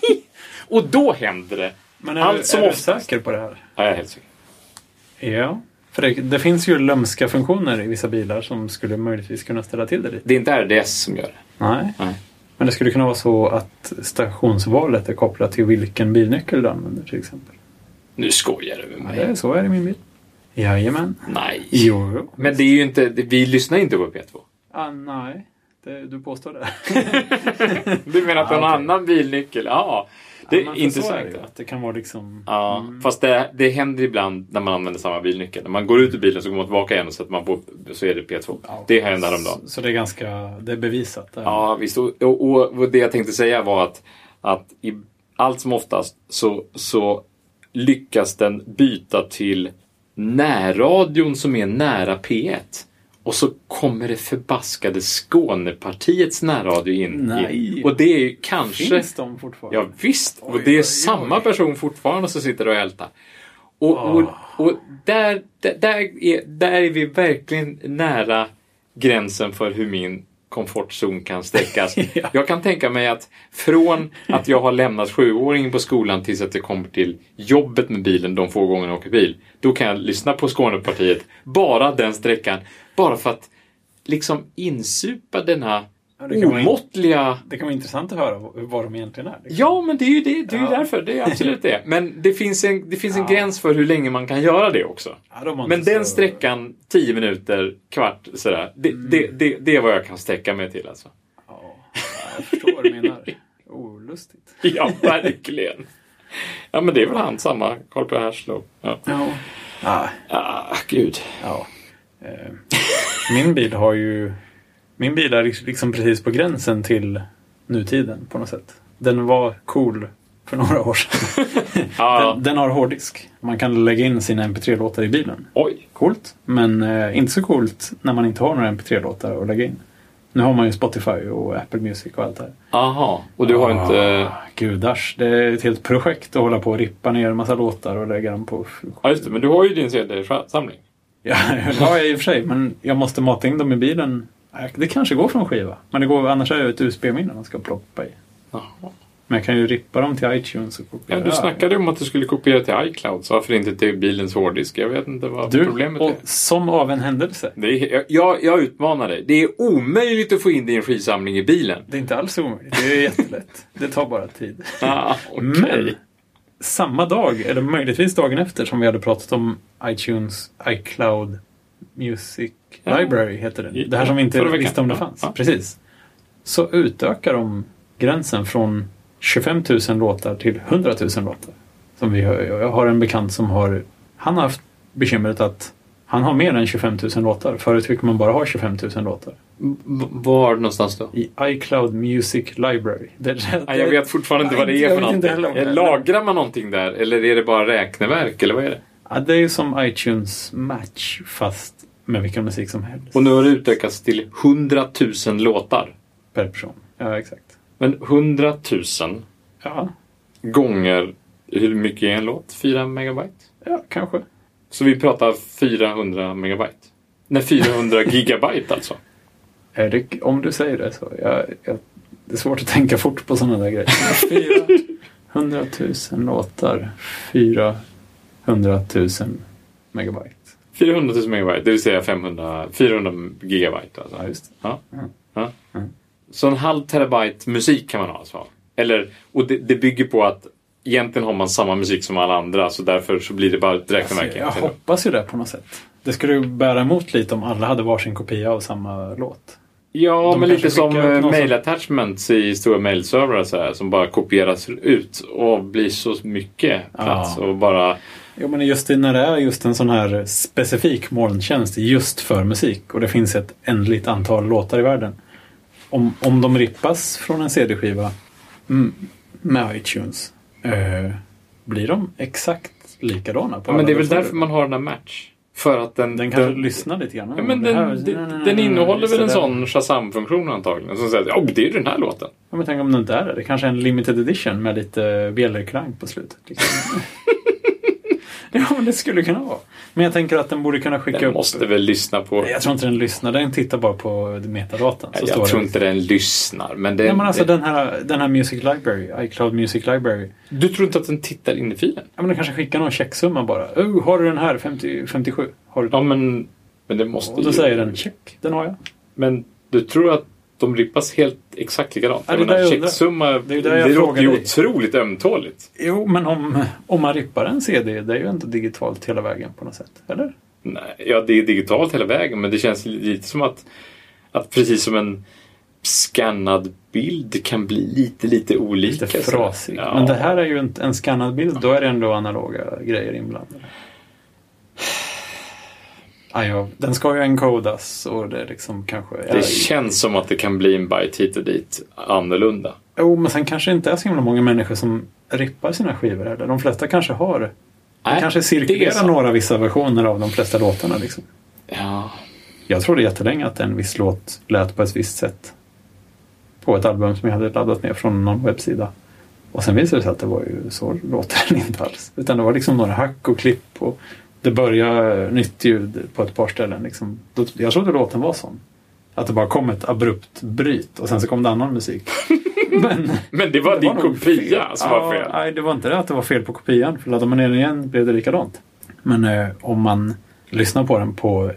B: och då händer det.
A: Men är,
B: Allt
A: du,
B: som
A: är du
B: oftast.
A: säker på det här?
B: Ja, jag är helt säker.
A: Ja. För det, det finns ju lömska funktioner i vissa bilar som skulle möjligtvis kunna ställa till det lite.
B: Det är inte RDS som gör det.
A: Nej.
B: Nej.
A: Men det skulle kunna vara så att stationsvalet är kopplat till vilken bilnyckel du använder till exempel.
B: Nu skojar du med
A: Ja,
B: mig.
A: det är så är det i min bil. Jajamän.
B: Nej.
A: Jo. jo.
B: Men det är ju inte, det- vi lyssnar inte på P2.
A: Ah, nej, det, du påstår det.
B: Du menar
A: Ja,
B: på en
A: Ah, okej.
B: annan bilnyckel? Ja. Det är
A: men för så
B: intressant.
A: det, ju, att det kan vara liksom...
B: Ja, fast det, det händer ibland när man använder samma bilnyckel. När man går ut ur bilen så går man tillbaka igen och sätter man på, så är det P2. Det hände häromdagen.
A: Så, så det är ganska det är bevisat. Äh, det här.
B: Ja, visst. Och, och, och det jag tänkte säga var att, att i, allt som oftast så, så lyckas den byta till närradion som är nära P1. Och så kommer det förbaskade Skånepartiets närradio in.
A: Nej.
B: Och det är ju kanske...
A: Finns de fortfarande?
B: Ja, visst.
A: Oj,
B: och det är
A: oj, oj.
B: samma person fortfarande som sitter och ältar. Och, och,
A: Ah.
B: och där, där, där, är, där är vi verkligen nära gränsen för hur min komfortzon kan sträckas.
A: Ja.
B: Jag kan tänka mig att från att jag har lämnat sjuåringen på skolan tills att jag kommer till jobbet med bilen de få gånger jag åker bil, då kan jag lyssna på Skånepartiet bara den sträckan, bara för att liksom insupa denna
A: Ja, det kan vara in-
B: omåttliga
A: Det kan vara intressant att höra vad, vad de egentligen är. liksom.
B: Ja, men det är ju det. Det är ju
A: Ja.
B: därför. Det är absolut det. Men det finns en, det finns en
A: Ja.
B: gräns för hur länge man kan göra det också.
A: Ja, de har
B: Men
A: inte
B: den
A: så-
B: sträckan, 10 minuter, kvart, sådär. Det, det, det, det är vad jag kan sträcka mig till alltså.
A: Ja, jag förstår vad du menar. Olustigt.
B: Ja, verkligen. Ja, men det är väl han samma, Carl P. Herslow. Ja.
A: Ja. Ah,
B: Ah, gud.
A: ja. Eh, Min bil har ju... Min bil är liksom precis på liksom gränsen till nutiden på något sätt. Den var cool för några år sedan.
B: Ja.
A: den, den har hårddisk. Man kan lägga in sina mp3-låtar i bilen.
B: Oj!
A: Coolt, men eh, inte så coolt när man inte har några mp3-låtar att lägga in. Nu har man ju Spotify och Apple Music och allt det här.
B: Aha. Och du har inte... eh,
A: Ah, Gudars, det är ett helt projekt att hålla på och rippa ner en massa låtar och lägga dem på...
B: Ja, just det. Men du har ju din CD-samling.
A: Ja, det har jag i och för sig, men jag måste mata in dem i bilen. Nej, Det kanske går från skiva, men det går, annars är det ett USB-minne man ska ploppa i.
B: Jaha.
A: Men jag kan ju rippa dem till iTunes och
B: Ja,
A: kopiera.
B: du snackade ju om att du skulle kopiera till iCloud, så varför inte till bilens hårddisk? Jag vet inte vad
A: du,
B: problemet
A: och
B: är.
A: som av en händelse.
B: Det är jag- jag, jag utmanar dig. Det är omöjligt att få in din skivsamling i bilen.
A: Det är inte alls omöjligt, det är jättelätt. Det tar bara tid.
B: Ah, okej.
A: Men samma dag, eller möjligtvis dagen efter, som vi hade pratat om iTunes, iCloud, Music
B: Ja.
A: Library heter den. Det här
B: Ja,
A: som vi inte
B: förra veckan.
A: visste om det
B: Ja,
A: fanns.
B: ja.
A: Precis. Så utökar de gränsen från 25 000 låtar till 100 000 låtar. Som vi hör. Jag har en bekant som har, han har haft bekymret att han har mer än 25 000 låtar. Förut fick man bara ha 25 000 låtar.
B: V- Var någonstans då?
A: I iCloud Music Library. Det,
B: Nej, jag vet fortfarande inte vad det är
A: Jag
B: för
A: vet inte
B: någonting.
A: heller vad det är.
B: Lagrar man någonting där eller är det bara räkneverk eller vad är det?
A: Ja, det är ju som iTunes Match fast med vilken musik som helst
B: Och nu har det utökats till 100 000 låtar.
A: per person. Ja, exakt.
B: Men 100 000
A: Ja,
B: gånger hur mycket är en låt? 4 megabyte?
A: ja kanske.
B: Så vi pratar 400 megabyte? Nej, 400 gigabyte alltså.
A: Är det, om du säger det så. Jag, jag, det är svårt att tänka fort på sådana där grejer. 400 000 låtar, 400 000 megabyte.
B: 400 000 megabyte, det vill säga 500, 400 gigabyte. Alltså.
A: Ja, just det.
B: Ja.
A: Mm.
B: Ja.
A: Mm.
B: Så en halv terabyte musik kan man ha alltså? Eller, och det, det bygger på att egentligen har man samma musik som alla andra så därför så blir det bara ett räkneverk.
A: Jag
B: egentligen.
A: hoppas ju det på något sätt. Det skulle ju bära emot lite om alla hade varsin kopia av samma låt.
B: ja,
A: De
B: men
A: kanske
B: lite som
A: skickar ut någon
B: mail-attachments i stora mailservrar så här, som bara kopieras ut och blir så mycket plats.
A: Ja.
B: Och bara,
A: Jo, men just det, när det är just en sån här specifik molntjänst just för musik och det finns ett ändligt antal låtar i världen. Om, om de rippas från en CD-skiva mm, med iTunes, eh, blir de exakt likadana? På
B: ja, men
A: alla
B: det är väl
A: datorer?
B: därför man har den här match. För att den...
A: Den kanske lyssnar lite grann.
B: Ja,
A: Mm,
B: men
A: det här-
B: den, den, den innehåller
A: just
B: väl en
A: det.
B: sån Shazam-funktion antagligen. Som säger att oh, det är den här låten.
A: Ja, men tänk om den inte är det. Det kanske är en limited edition med lite bjällerklang på slutet. Liksom. ja, men det skulle kunna vara. Men jag tänker att den borde kunna skicka
B: Den
A: upp...
B: måste väl lyssna på...
A: Jag tror inte den lyssnar, den tittar bara på metadatan. Så
B: jag
A: står
B: tror
A: det.
B: inte den lyssnar. Men, den,
A: Nej, men alltså
B: den,
A: den här, den här Music Library, iCloud Music Library.
B: du tror inte att den tittar in i filen?
A: Ja, men den kanske skickar någon checksumma bara. Oh, har du den här 50, 57? Har du den?
B: Ja, men, men det måste
A: Och då
B: ju.
A: säger den check, den har jag.
B: Men du tror att de rippas helt exakt likadant?
A: Ja, det
B: Jag
A: där
B: menar,
A: jag undrar.
B: checksumma,
A: Det
B: det,
A: är där jag
B: låter
A: frågar
B: ju
A: dig.
B: otroligt ömtåligt.
A: Jo, men om, om man rippar en CD, det är ju ändå digitalt hela vägen på något sätt. Eller?
B: Nej, ja, det är digitalt hela vägen, men det känns lite som att, att precis som en skannad bild kan bli lite, lite olika.
A: Lite
B: sådär.
A: frasigt.
B: Ja.
A: Men det här är ju en, en skannad bild, då är det ändå analoga grejer inblandade. Ja, ja, den ska ju encodas och det är liksom kanske...
B: Det känns som att det kan bli en bite hit och dit annorlunda.
A: Jo, men sen kanske det inte är så himla många människor som rippar sina skivor heller. De flesta kanske har. Det
B: Nej,
A: kanske
B: Äh, det är
A: cirkulerar
B: sant.
A: några vissa versioner av de flesta låtarna. Liksom.
B: Ja.
A: Jag trodde jättelänge att en viss låt lät på ett visst sätt. På ett album som jag hade laddat ner från någon webbsida. Och sen visade det sig att det var ju så låter den inte alls. Utan det var liksom några hack och klipp och det började nytt ljud på ett par ställen. Liksom. Då- Jag trodde låten var sån. Att det bara kom ett abrupt bryt och sen så kom det annan musik. Men
B: Men det var
A: det
B: din
A: var nog
B: kopia
A: fel.
B: som
A: ja,
B: var fel.
A: Nej, det var inte det att det var fel på kopian. För laddade man ner den igen blev det likadant. Men eh, om man lyssnar på den på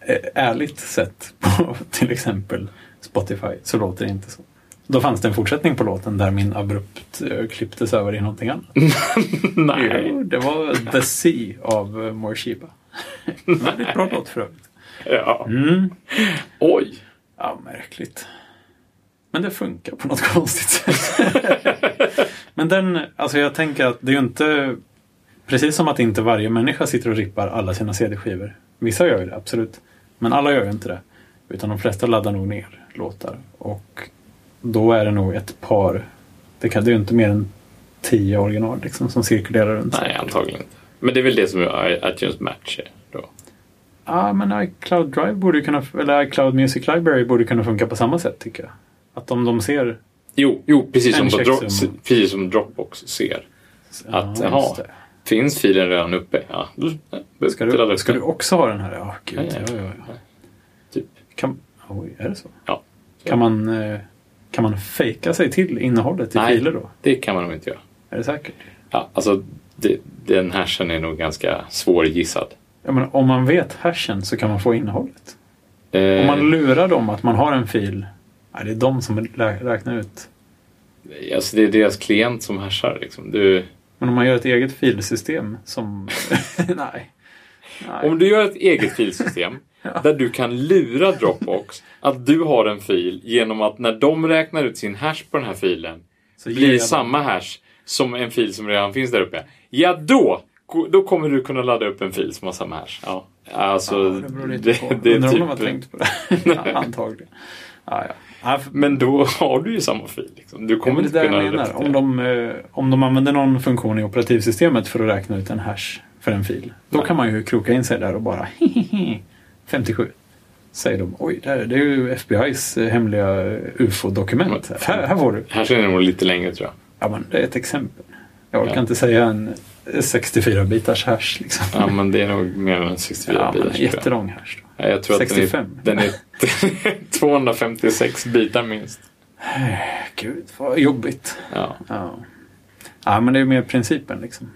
A: eh, ärligt sätt på till exempel Spotify så låter det inte så. Då fanns det en fortsättning på låten där min abrupt eh, klipptes över i någonting annat.
B: Nej.
A: Jo, det var The Sea av eh, Morshiba. Väldigt bra låt för övrigt.
B: Ja.
A: Mm.
B: Oj.
A: Ja, märkligt. Men det funkar på något konstigt sätt. Men den, alltså jag tänker att det är ju inte... Precis som att inte varje människa sitter och rippar alla sina CD-skivor. Vissa gör ju det, absolut. Men alla gör ju inte det. Utan de flesta laddar nog ner låtar. Och Då är det nog ett par. Det kan det är ju inte mer än tio original liksom, som cirkulerar runt.
B: Nej, antagligen inte. Men det är väl det som är iTunes Match är då.
A: Ja, men iCloud Drive borde ju kunna, eller iCloud Music Library borde kunna funka på samma sätt tycker jag. Att om de ser...
B: Jo, jo precis, som
A: En
B: på Dro-
A: checksumma. precis
B: precis som Dropbox ser. Att,
A: Ja,
B: jaha.
A: just det.
B: Finns filen redan uppe? Ja.
A: Ska du, ska du också ha den här? Ja, gud.
B: Ja,
A: Ja,
B: ja.
A: ja, ja.
B: Typ.
A: Kan, oj, är det så?
B: Ja.
A: Kan man, eh, kan man fejka sig till innehållet i
B: Nej.
A: filer då?
B: Det kan man nog inte göra.
A: Är det säkert?
B: Ja, alltså, det, den hashen är nog ganska svårgissad.
A: Jag menar, om man vet hashen så kan man få innehållet.
B: Eh,
A: Om man lurar dem att man har en fil. Nej, det är de som lä- räknar ut.
B: alltså, det är deras klient som hashar. Liksom. Du,
A: Men om man gör ett eget filsystem som... nej. nej.
B: om du gör ett eget filsystem där du kan lura Dropbox att du har en fil genom att när de räknar ut sin hash på den här filen
A: Så ger
B: blir
A: jag-
B: samma hash som en fil som redan finns där uppe. Ja, då, då kommer du kunna ladda upp en fil som har samma hash. Ja. Alltså,
A: Ja, det beror
B: det,
A: lite på.
B: det är
A: Undrar om de har
B: typ...
A: tänkt på det. Ja, Antagligen. Ja, ja. Ja, för-
B: Men då har du ju samma fil. Liksom. Du
A: Ja, men
B: kommer
A: det
B: inte
A: där
B: kunna
A: jag menar.
B: repetera.
A: Om de, eh, om de använder någon funktion i operativsystemet för att räkna ut en hash för en fil. Då
B: Ja.
A: kan man ju kroka in sig där och bara 57. Säger de. Oj, där, det är ju FBI's eh, hemliga ufo-dokument.
B: Men-
A: Här, här får du.
B: Här ser det nog lite längre tror jag.
A: Ja, men det är ett exempel. Jag orkar
B: Ja.
A: inte säga en 64-bitars hash liksom.
B: Ja, men det är nog mer än 64
A: Ja, men
B: bilar.
A: en
B: tror jag.
A: jättelång hash. Då.
B: Ja, jag tror
A: 65.
B: att den är, den är 256 bitar minst.
A: Gud, vad jobbigt.
B: Ja,
A: Ja. ja, men det är ju mer principen liksom.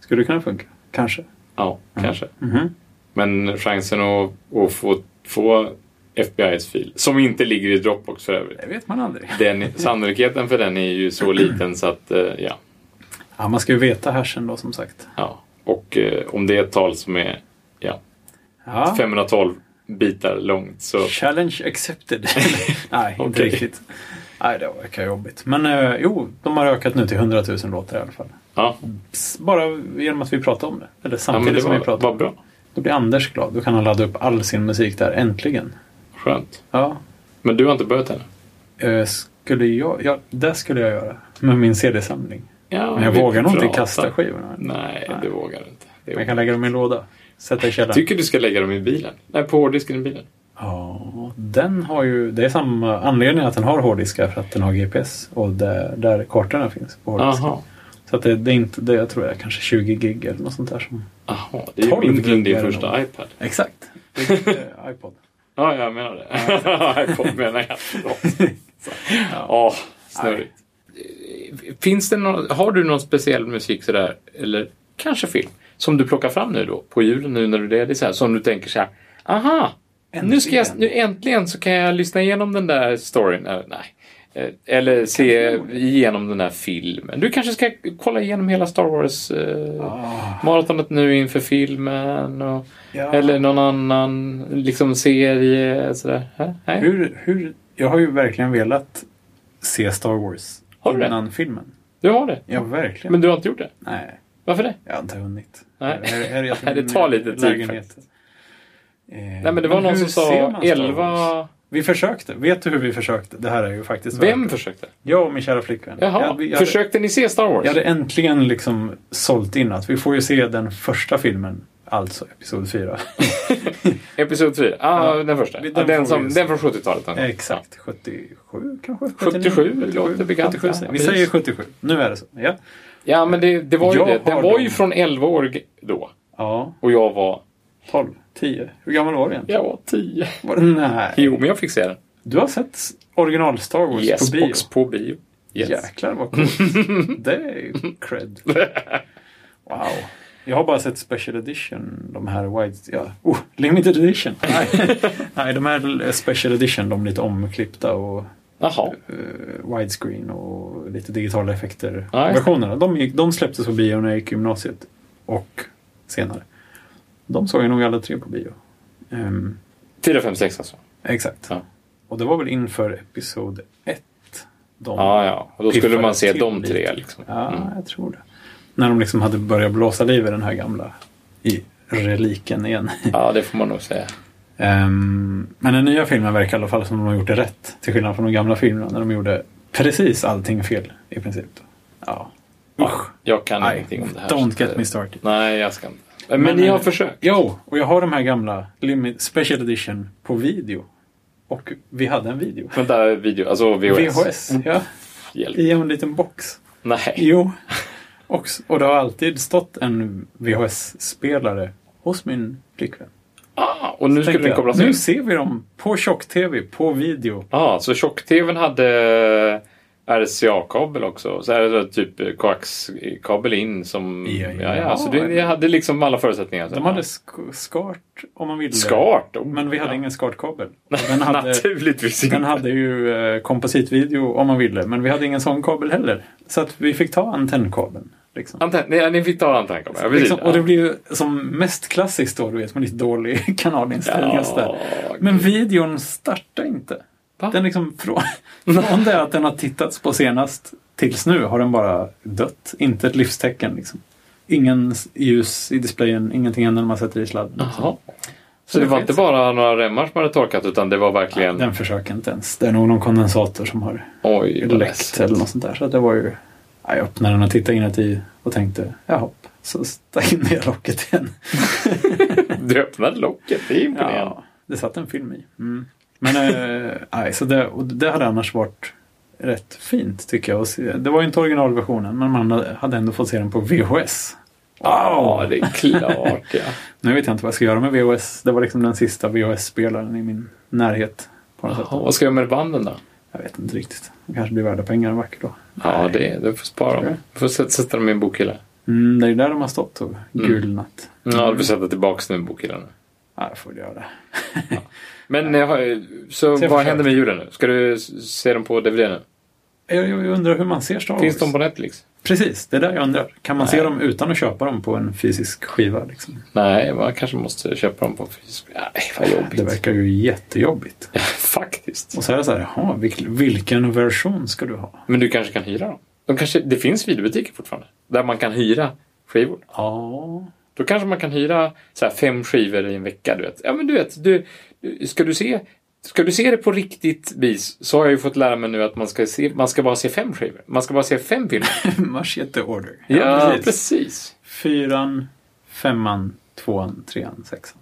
A: Skulle det kunna funka? Kanske.
B: ja kanske.
A: Mhm.
B: Men chansen att, att få, få FBI's fil, som inte ligger i Dropbox för övrigt.
A: Det vet man aldrig.
B: Den, sannolikheten för den är ju så liten så att, eh, ja.
A: Ja, man ska ju veta hashen då som sagt.
B: ja. Och eh, om det är ett tal som är ja,
A: Ja.
B: 512 bitar långt så...
A: Challenge accepted. Nej, inte
B: Okej.
A: riktigt. Nej, det verkar jobbigt. Men eh, jo, de har ökat nu till 100 000 låtar i alla fall.
B: Ja,
A: S- Bara genom att vi pratar om det. Eller
B: ja men
A: samtidigt
B: det
A: som vi
B: var,
A: pratar
B: var
A: om det.
B: bra.
A: Då blir Anders glad. Då kan han ladda upp all sin musik där, äntligen.
B: Skönt.
A: Ja,
B: Men du har inte börjat än?
A: eh, skulle jag, ja, det skulle jag göra. Med min CD-samling.
B: Ja,
A: Men jag
B: vi
A: vågar nog inte
B: pratar.
A: kasta skivorna. Men
B: Nej, det vågar du inte. Det är
A: jag kan lägga dem i en låda. Sätta i
B: Jag
A: källaren.
B: tycker du ska lägga dem i bilen. Nej, på hårddisken i bilen.
A: Ja, den har ju... Det är samma anledning att den har hårddiskar för att den har GPS och där, där kartorna finns på hårddisken.
B: Aha.
A: Så att det, det är inte... Det, jag tror det är kanske 20 gig eller något sånt där som...
B: Aha, det är ju
A: 12
B: mindre än din
A: gig är det
B: första
A: nog.
B: iPad.
A: Exakt. Eh, iPod.
B: Ja, jag menar det. iPod menar jag. Förlåt. Så. Ja, snurrigt. Finns det någon, har du någon speciell musik sådär, eller kanske film, som du plockar fram nu då, på julen nu när du är det så här, som du tänker så här, aha, nu ska jag,
A: Äntligen.
B: nu äntligen så kan jag lyssna igenom den där storyn, eller nej. Eh, Eller se igenom den där filmen. Du kanske ska kolla igenom hela Star
A: Ah.
B: Wars-maratonet nu inför filmen. Och...
A: Ja.
B: Eller någon annan liksom serie sådär. Hä? Nej.
A: Hur, hur... Jag har ju verkligen velat se Star Wars
B: Har du det?
A: innan filmen.
B: Du har det.
A: Ja, verkligen.
B: Men du har inte gjort det.
A: Nej,
B: Varför det?
A: jag har inte hunnit.
B: Nej.
A: Här- här är jag till
B: Nej, det
A: min
B: tar lite tid
A: lägenhet.
B: faktiskt.
A: Eh,
B: Nej men det var någon
A: hur
B: som
A: ser man
B: sa
A: Star Wars?
B: 11...
A: Vi försökte. Vet du hur vi försökte? Det här är ju faktiskt
B: Vem försökte?
A: Jag och min kära flickvän.
B: Jaha,
A: jag, jag,
B: försökte ni se Star Wars?
A: jag hade äntligen liksom sålt in att vi får ju se den första filmen, alltså episod 4.
B: Episod 4? Ah, ja, den första.
A: Den
B: Den, ah, den,
A: får
B: som,
A: vi se. Eh,
B: den från 70-talet. den.
A: Exakt, 77 kanske?
B: 77, det låter bekant.
A: 77,
B: Ja,
A: vi
B: precis.
A: säger 77, nu är det så. Ja,
B: Ja, men det, det var ju
A: Jag
B: det. Den
A: har
B: var
A: dem.
B: ju från 11 år g- då.
A: ja
B: Och jag var...
A: 12, 10. Hur gammal var du egentligen?
B: Jag var 10.
A: Var det- Nej.
B: Jo, men jag fick se den.
A: Du har sett original Star Wars
B: Yes,
A: på bio?
B: box på bio. Yes.
A: Jäklar vad coolt. det är ju cred. Wow. Jag har bara sett special edition, de här wide... Ja. Oh, limited edition! Nej. Nej, de här special edition, de lite omklippta och
B: Jaha.
A: eh, widescreen och lite digitala effekter.
B: Ja, just det.
A: Versionerna, de, gick, de släpptes på bio när jag gick i gymnasiet och senare. De såg jag nog alla tre på bio. Ehm,
B: 4, 5, 6 alltså.
A: exakt.
B: Ja.
A: Och det var väl inför episod ett. De
B: Ja, ja. Och då skulle
A: Piffade
B: man se
A: till
B: de
A: lite.
B: tre liksom.
A: Ja,
B: Mm.
A: jag tror det. När de liksom hade börjat blåsa liv i den här gamla i reliken igen.
B: Ja, det får man nog säga.
A: Ehm, men den nya filmen verkar i alla fall som de har gjort det rätt. Till skillnad från de gamla filmerna när de gjorde precis allting fel i princip. Ja. Usch.
B: Jag kan
A: Nej,
B: ingenting om det här.
A: Don't
B: så
A: get
B: det-
A: me started.
B: Nej, jag ska inte. Men,
A: Men,
B: ni har
A: eh,
B: försökt.
A: Jo, och jag har de här gamla limit, Special Edition på video. Och vi hade en video.
B: Vänta, video, alltså VHS.
A: VHS. Ja,
B: Hjälp.
A: I en liten box.
B: Nej.
A: Jo. Och, s- och det har alltid stått en VHS-spelare hos min flickvän.
B: Ah, och nu skulle
A: Tänkte
B: den
A: jag,
B: kopplas in.
A: nu ser vi dem på tjock-tv, på video.
B: Ja, så tjock-tvn hade RCA-kabel också. Så här är det typ koaxkabel in som...
A: Ja, ja.
B: ja, så det, ni hade liksom alla förutsättningar.
A: De hade sk- skart om man ville.
B: skart. Oh,
A: Men vi hade
B: ja.
A: ingen skartkabel. Och Den hade,
B: Naturligtvis
A: den
B: inte.
A: hade ju eh, kompositvideo om man ville, men vi hade ingen sån kabel heller. Så att vi fick ta antennkabeln. Liksom.
B: Anten, nej, ni fick ta antennkabel. Ja, precis.
A: Liksom, och det blir ju som mest klassiskt då, du vet, med lite dålig kanalinställning och sådär.
B: Ja,
A: Men videon startar inte.
B: Va?
A: Den liksom från, från det att den har tittats på senast tills nu har den bara dött. Inte ett livstecken liksom. Ingen s- ljus i displayen, ingenting händer när man sätter i sladden.
B: Jaha. Så det var inte bara några remmar som hade torkat utan det var verkligen...
A: Den försöker inte ens. Det är nog någon kondensator som har
B: Oj, vad
A: läckt eller något sånt där. Så det var ju... Ja, jag öppnade den och tittade inuti och tänkte jaha. Så stack in ner locket igen.
B: Du öppnade locket, det är imponerande.
A: Ja, det satt en film i. Mm. Men eh, nej, så det, och det hade annars varit rätt fint tycker jag. att se. Det var ju inte originalversionen men man hade ändå fått se den på VHS.
B: Ja, det är klart ja.
A: Nu vet jag inte vad jag ska göra med VHS. Det var liksom den sista VHS-spelaren i min närhet. På något
B: Jaha,
A: sätt.
B: vad ska jag göra med banden då?
A: Jag vet inte riktigt. De kanske blir värda pengar en vacker dag.
B: Ja, det, du får spara
A: Tror
B: dem.
A: du?
B: Du får sätta, sätta dem i en bokhylla.
A: Mm, det är ju där de har stått och
B: Mm.
A: gulnat.
B: Ja, du får sätta tillbaka dem i bokhyllan. nu.
A: Ja, jag får göra det.
B: Men jag har, så
A: Så jag
B: vad
A: försöker.
B: händer med julen nu? Ska du s- se dem på DVD nu?
A: Jag, jag undrar hur man ser Star Wars.
B: Finns de på Netflix?
A: Precis, det är där jag undrar. Kan man se
B: Nej.
A: dem utan att köpa dem på en fysisk skiva? Liksom?
B: Nej, man kanske måste köpa dem på fysisk... Nej, vad
A: Det
B: jobbigt.
A: verkar ju jättejobbigt.
B: Faktiskt.
A: Och så är det så här, jaha, vilk- vilken version ska du ha?
B: Men du kanske kan hyra dem? De kanske, det finns videobutiker fortfarande. Där man kan hyra skivor.
A: Ja.
B: Då kanske man kan hyra så här fem skivor i en vecka. Du vet. Ja, men du vet, du, du- ska, du se, ska du se det på riktigt vis så har jag ju fått lära mig nu att man ska, se, man ska bara se fem skivor. Man ska bara se fem filmer.
A: Machete Order.
B: Ja, precis.
A: Fyran, femman, tvåan, trean, sexan.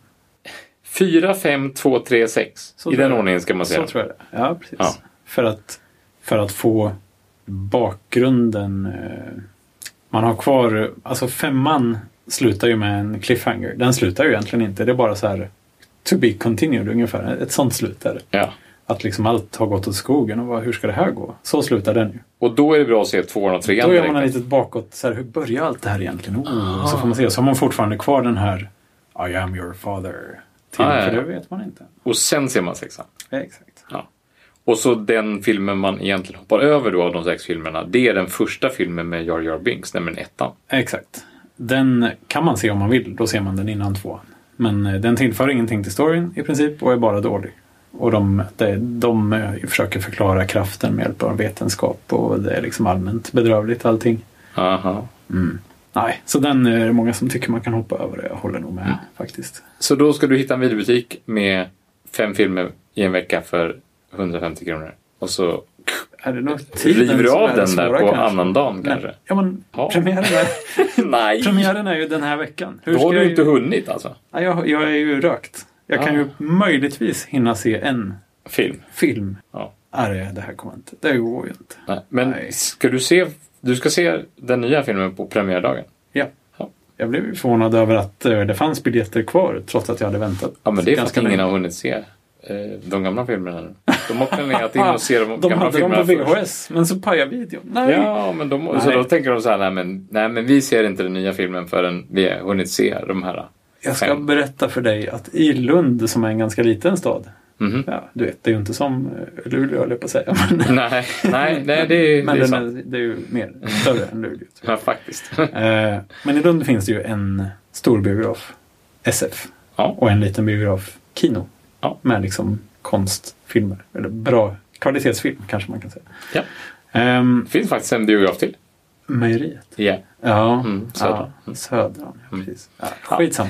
B: Fyra, fem, två, tre, sex.
A: Så
B: I
A: tror
B: den
A: jag.
B: ordningen ska man se
A: Så
B: dem.
A: tror jag det Ja, precis.
B: Ja.
A: För, att, för att få bakgrunden. eh, Man har kvar, alltså femman slutar ju med en cliffhanger. Den slutar ju egentligen inte, det är bara så här to be continued ungefär. Ett sånt slut är det.
B: Ja.
A: Att liksom allt har gått åt skogen och vad, hur ska det här gå? Så slutar den ju.
B: Och då är det bra att se tvåan och trean
A: Då gör man en
B: direkt.
A: litet bakåt, så här, hur börjar allt det här egentligen?
B: Ah.
A: Oh, så får man se, så har man fortfarande kvar den här I am your father. Till,
B: Ah, ja,
A: För
B: ja.
A: det vet man inte.
B: Och sen ser man sexan.
A: Ja, exakt.
B: Ja. Och så den filmen man egentligen hoppar över då av de sex filmerna. Det är den första filmen med Jar Jar Binks, nämligen ettan.
A: Exakt. Den kan man se om man vill, då ser man den innan tvåan. Men eh, den tillför ingenting till storyn i princip och är bara dålig. Och de, de, de eh, försöker förklara kraften med hjälp av vetenskap och det är liksom allmänt bedrövligt allting.
B: Aha.
A: Nej, så den eh, är det många som tycker man kan hoppa över. Jag håller nog med
B: Mm.
A: faktiskt.
B: Så då ska du hitta en videobutik med fem filmer i en vecka för 150 kronor. Och så
A: Är det nog tiden
B: river du
A: som är
B: av
A: det
B: den där
A: svåra,
B: på
A: kanske?
B: annandagen
A: Men-
B: kanske?
A: Ja, men
B: Ja.
A: premiären, är,
B: Nej!
A: premiären är ju den här veckan. Hur
B: Då har
A: ska
B: du
A: jag
B: inte
A: ju...
B: hunnit alltså.
A: Nej, jag, jag är ju rökt. Jag kan
B: Ah.
A: ju möjligtvis hinna se en
B: Film.
A: film.
B: Ja.
A: Nej, det- det här kommer inte. Det går ju inte.
B: Nej. Men
A: Nej.
B: ska du se... Du ska se den nya filmen på premiärdagen.
A: Ja.
B: Ja.
A: Jag blev ju förvånad över att eh, det fanns biljetter kvar trots att jag hade väntat
B: Ja, men det är för att
A: ganska
B: ingen
A: länge.
B: har hunnit se eh, de gamla filmerna nu. De har planerat in och se
A: De
B: de gamla
A: hade dem på
B: filmerna först.
A: VHS, men så pajade videon. Nej!
B: Ja, men de, så
A: Nej.
B: då tänker de så här, nej men, nej men vi ser inte den nya filmen förrän vi har hunnit se de här.
A: Jag ska
B: fem.
A: berätta för dig att i Lund, som är en ganska liten stad,
B: Mhm.
A: ja, du vet, det är ju inte som eh, Luleå, höll jag på att säga. Men,
B: Nej, nej, nej det, är-
A: men
B: det är
A: den
B: sant.
A: är, det är ju mer större än Luleå. tror
B: Ja, faktiskt.
A: jag. Eh, Men i Lund finns det ju en stor biograf, SF,
B: Ja.
A: och en liten biograf, Kino,
B: Ja.
A: med liksom konstfilmer, eller bra kvalitetsfilm kanske man kan säga.
B: ja.
A: Ehm,
B: Det finns faktiskt en biograf till.
A: Mejeriet?
B: Ja.
A: Ja,
B: Mm,
A: södra.
B: Södra. Mm.
A: Ja, södra ja, precis. Ja, Eh, skitsam.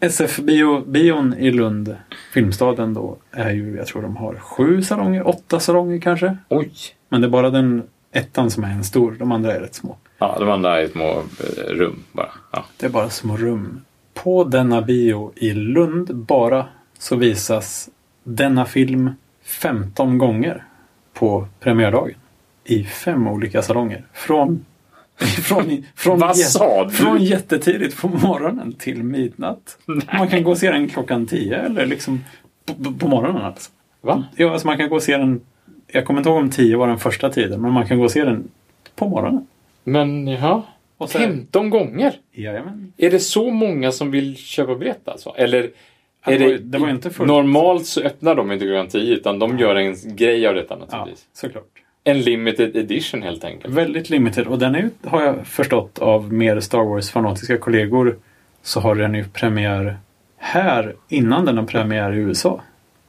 A: SF-bion i Lund, Filmstaden då, är ju, jag tror de har sju salonger, åtta salonger kanske.
B: Oj!
A: Men det är bara den ettan som är en stor, de andra är rätt små.
B: Ja, de andra är små eh, rum bara. Ja.
A: Det är bara små rum. På denna bio i Lund bara så visas denna film 15 gånger på premiärdagen. I fem olika salonger. Från, från, från,
B: Vad sa du?
A: från jättetidigt på morgonen till midnatt. Man kan gå och se den klockan 10 eller liksom på, på morgonen alltså.
B: Va?
A: Ja, alltså man kan gå och se den, jag kommer inte ihåg om 10 var den första tiden, men man kan gå och se den på morgonen.
B: Men ja.
A: Och så-
B: 15 gånger?
A: Jajamän.
B: Är det så många som vill köpa biljett alltså? Eller
A: Ja,
B: är
A: det var
B: det,
A: ju- det var ju inte fullt.
B: normalt så öppnar de inte klockan 10 utan de gör en grej av detta
A: Ja,
B: naturligtvis.
A: såklart.
B: En limited edition helt enkelt.
A: Väldigt limited och den är, ju- har jag förstått av mer Star Wars-fanatiska kollegor så har den ju premiär här innan den har premiär i USA.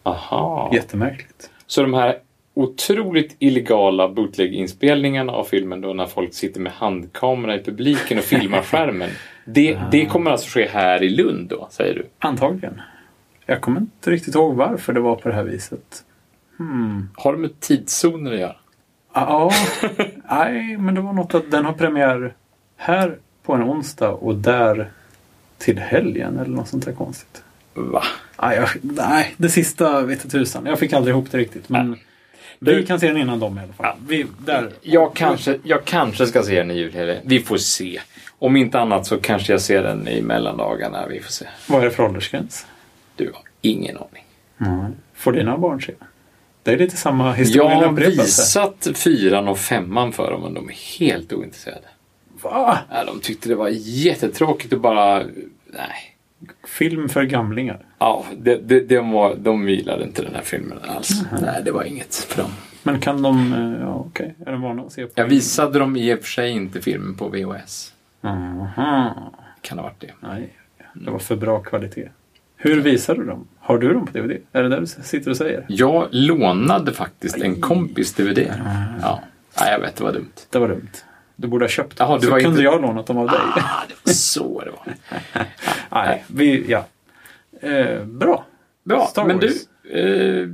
B: Aha.
A: Jättemärkligt.
B: Så de här otroligt illegala bootleg-inspelningarna av filmen då när folk sitter med handkamera i publiken och filmar skärmen. Det, det kommer alltså ske här i Lund då, säger du?
A: Antagligen. Jag kommer inte riktigt ihåg varför det var på det här viset.
B: Har det med tidszoner att göra?
A: Ah, Ja, nej, men det var något att den har premiär här på en onsdag och där till helgen eller något sånt där konstigt.
B: Va?
A: Nej, jag, nej det sista vete tusan. Jag fick aldrig ihop det riktigt. Men vi
B: Du-
A: kan se den innan dem i alla fall. Vi, där.
B: Jag kanske, jag kanske ska se den i julhelgen. Vi får se. Om inte annat så kanske jag ser den i mellandagarna. Vi får se.
A: Vad är det för åldersgräns?
B: Du har ingen aning.
A: Nej. Får dina barn se? Det är lite samma
B: Jag
A: historia
B: har
A: upprepar sig.
B: visat fyran och femman för dem men de är helt ointresserade.
A: Va?
B: Ja, de tyckte det var jättetråkigt och bara... Nej.
A: Film för gamlingar.
B: Ja, det, det, det var, de gillade inte den här filmen alls. Nej, det var inget för dem.
A: Men kan de... eh, Ja, okej. Är de vana att se på?
B: Jag visade dem i och för sig inte filmen på VHS.
A: Aha.
B: Kan ha varit det.
A: Nej, det var för bra kvalitet. Hur visar du dem? Har du dem på DVD? Är det där du sitter och säger?
B: Jag lånade faktiskt en kompis DVD. Ja. Nej, jag vet, det var dumt.
A: Det var dumt. Du borde ha köpt dem.
B: Jaha, du
A: Så
B: var
A: kunde
B: inte-
A: jag lånat dem av dig.
B: Ah, det var så det var. Ah.
A: Nej, vi... Ja. Eh, bra.
B: Bra,
A: Star
B: men du.
A: Wars.
B: Eh,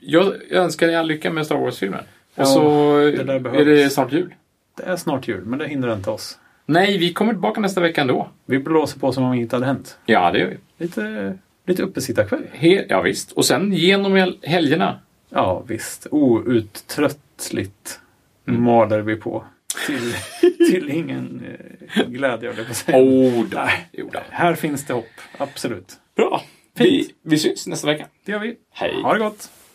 B: jag önskar dig all lycka med Star Wars-filmen. Och
A: Ja,
B: så
A: där
B: är det
A: behövs.
B: snart jul.
A: Det är snart jul, men det hindrar inte oss.
B: Nej, vi kommer tillbaka nästa vecka ändå.
A: Vi blåser på som om inget hade hänt.
B: Ja, det gör vi.
A: Lite, lite uppesittarkväll.
B: He- ja, visst. Och sen genom hel- helgerna.
A: Ja, visst. Outtröttligt maler vi på. Till, till ingen eh, glädje, höll jag på att säga.
B: Oh, nej. Jo, då.
A: Här finns det hopp, absolut.
B: Bra. Vi, vi syns nästa vecka.
A: Det gör vi.
B: Hej.
A: Ha det gott!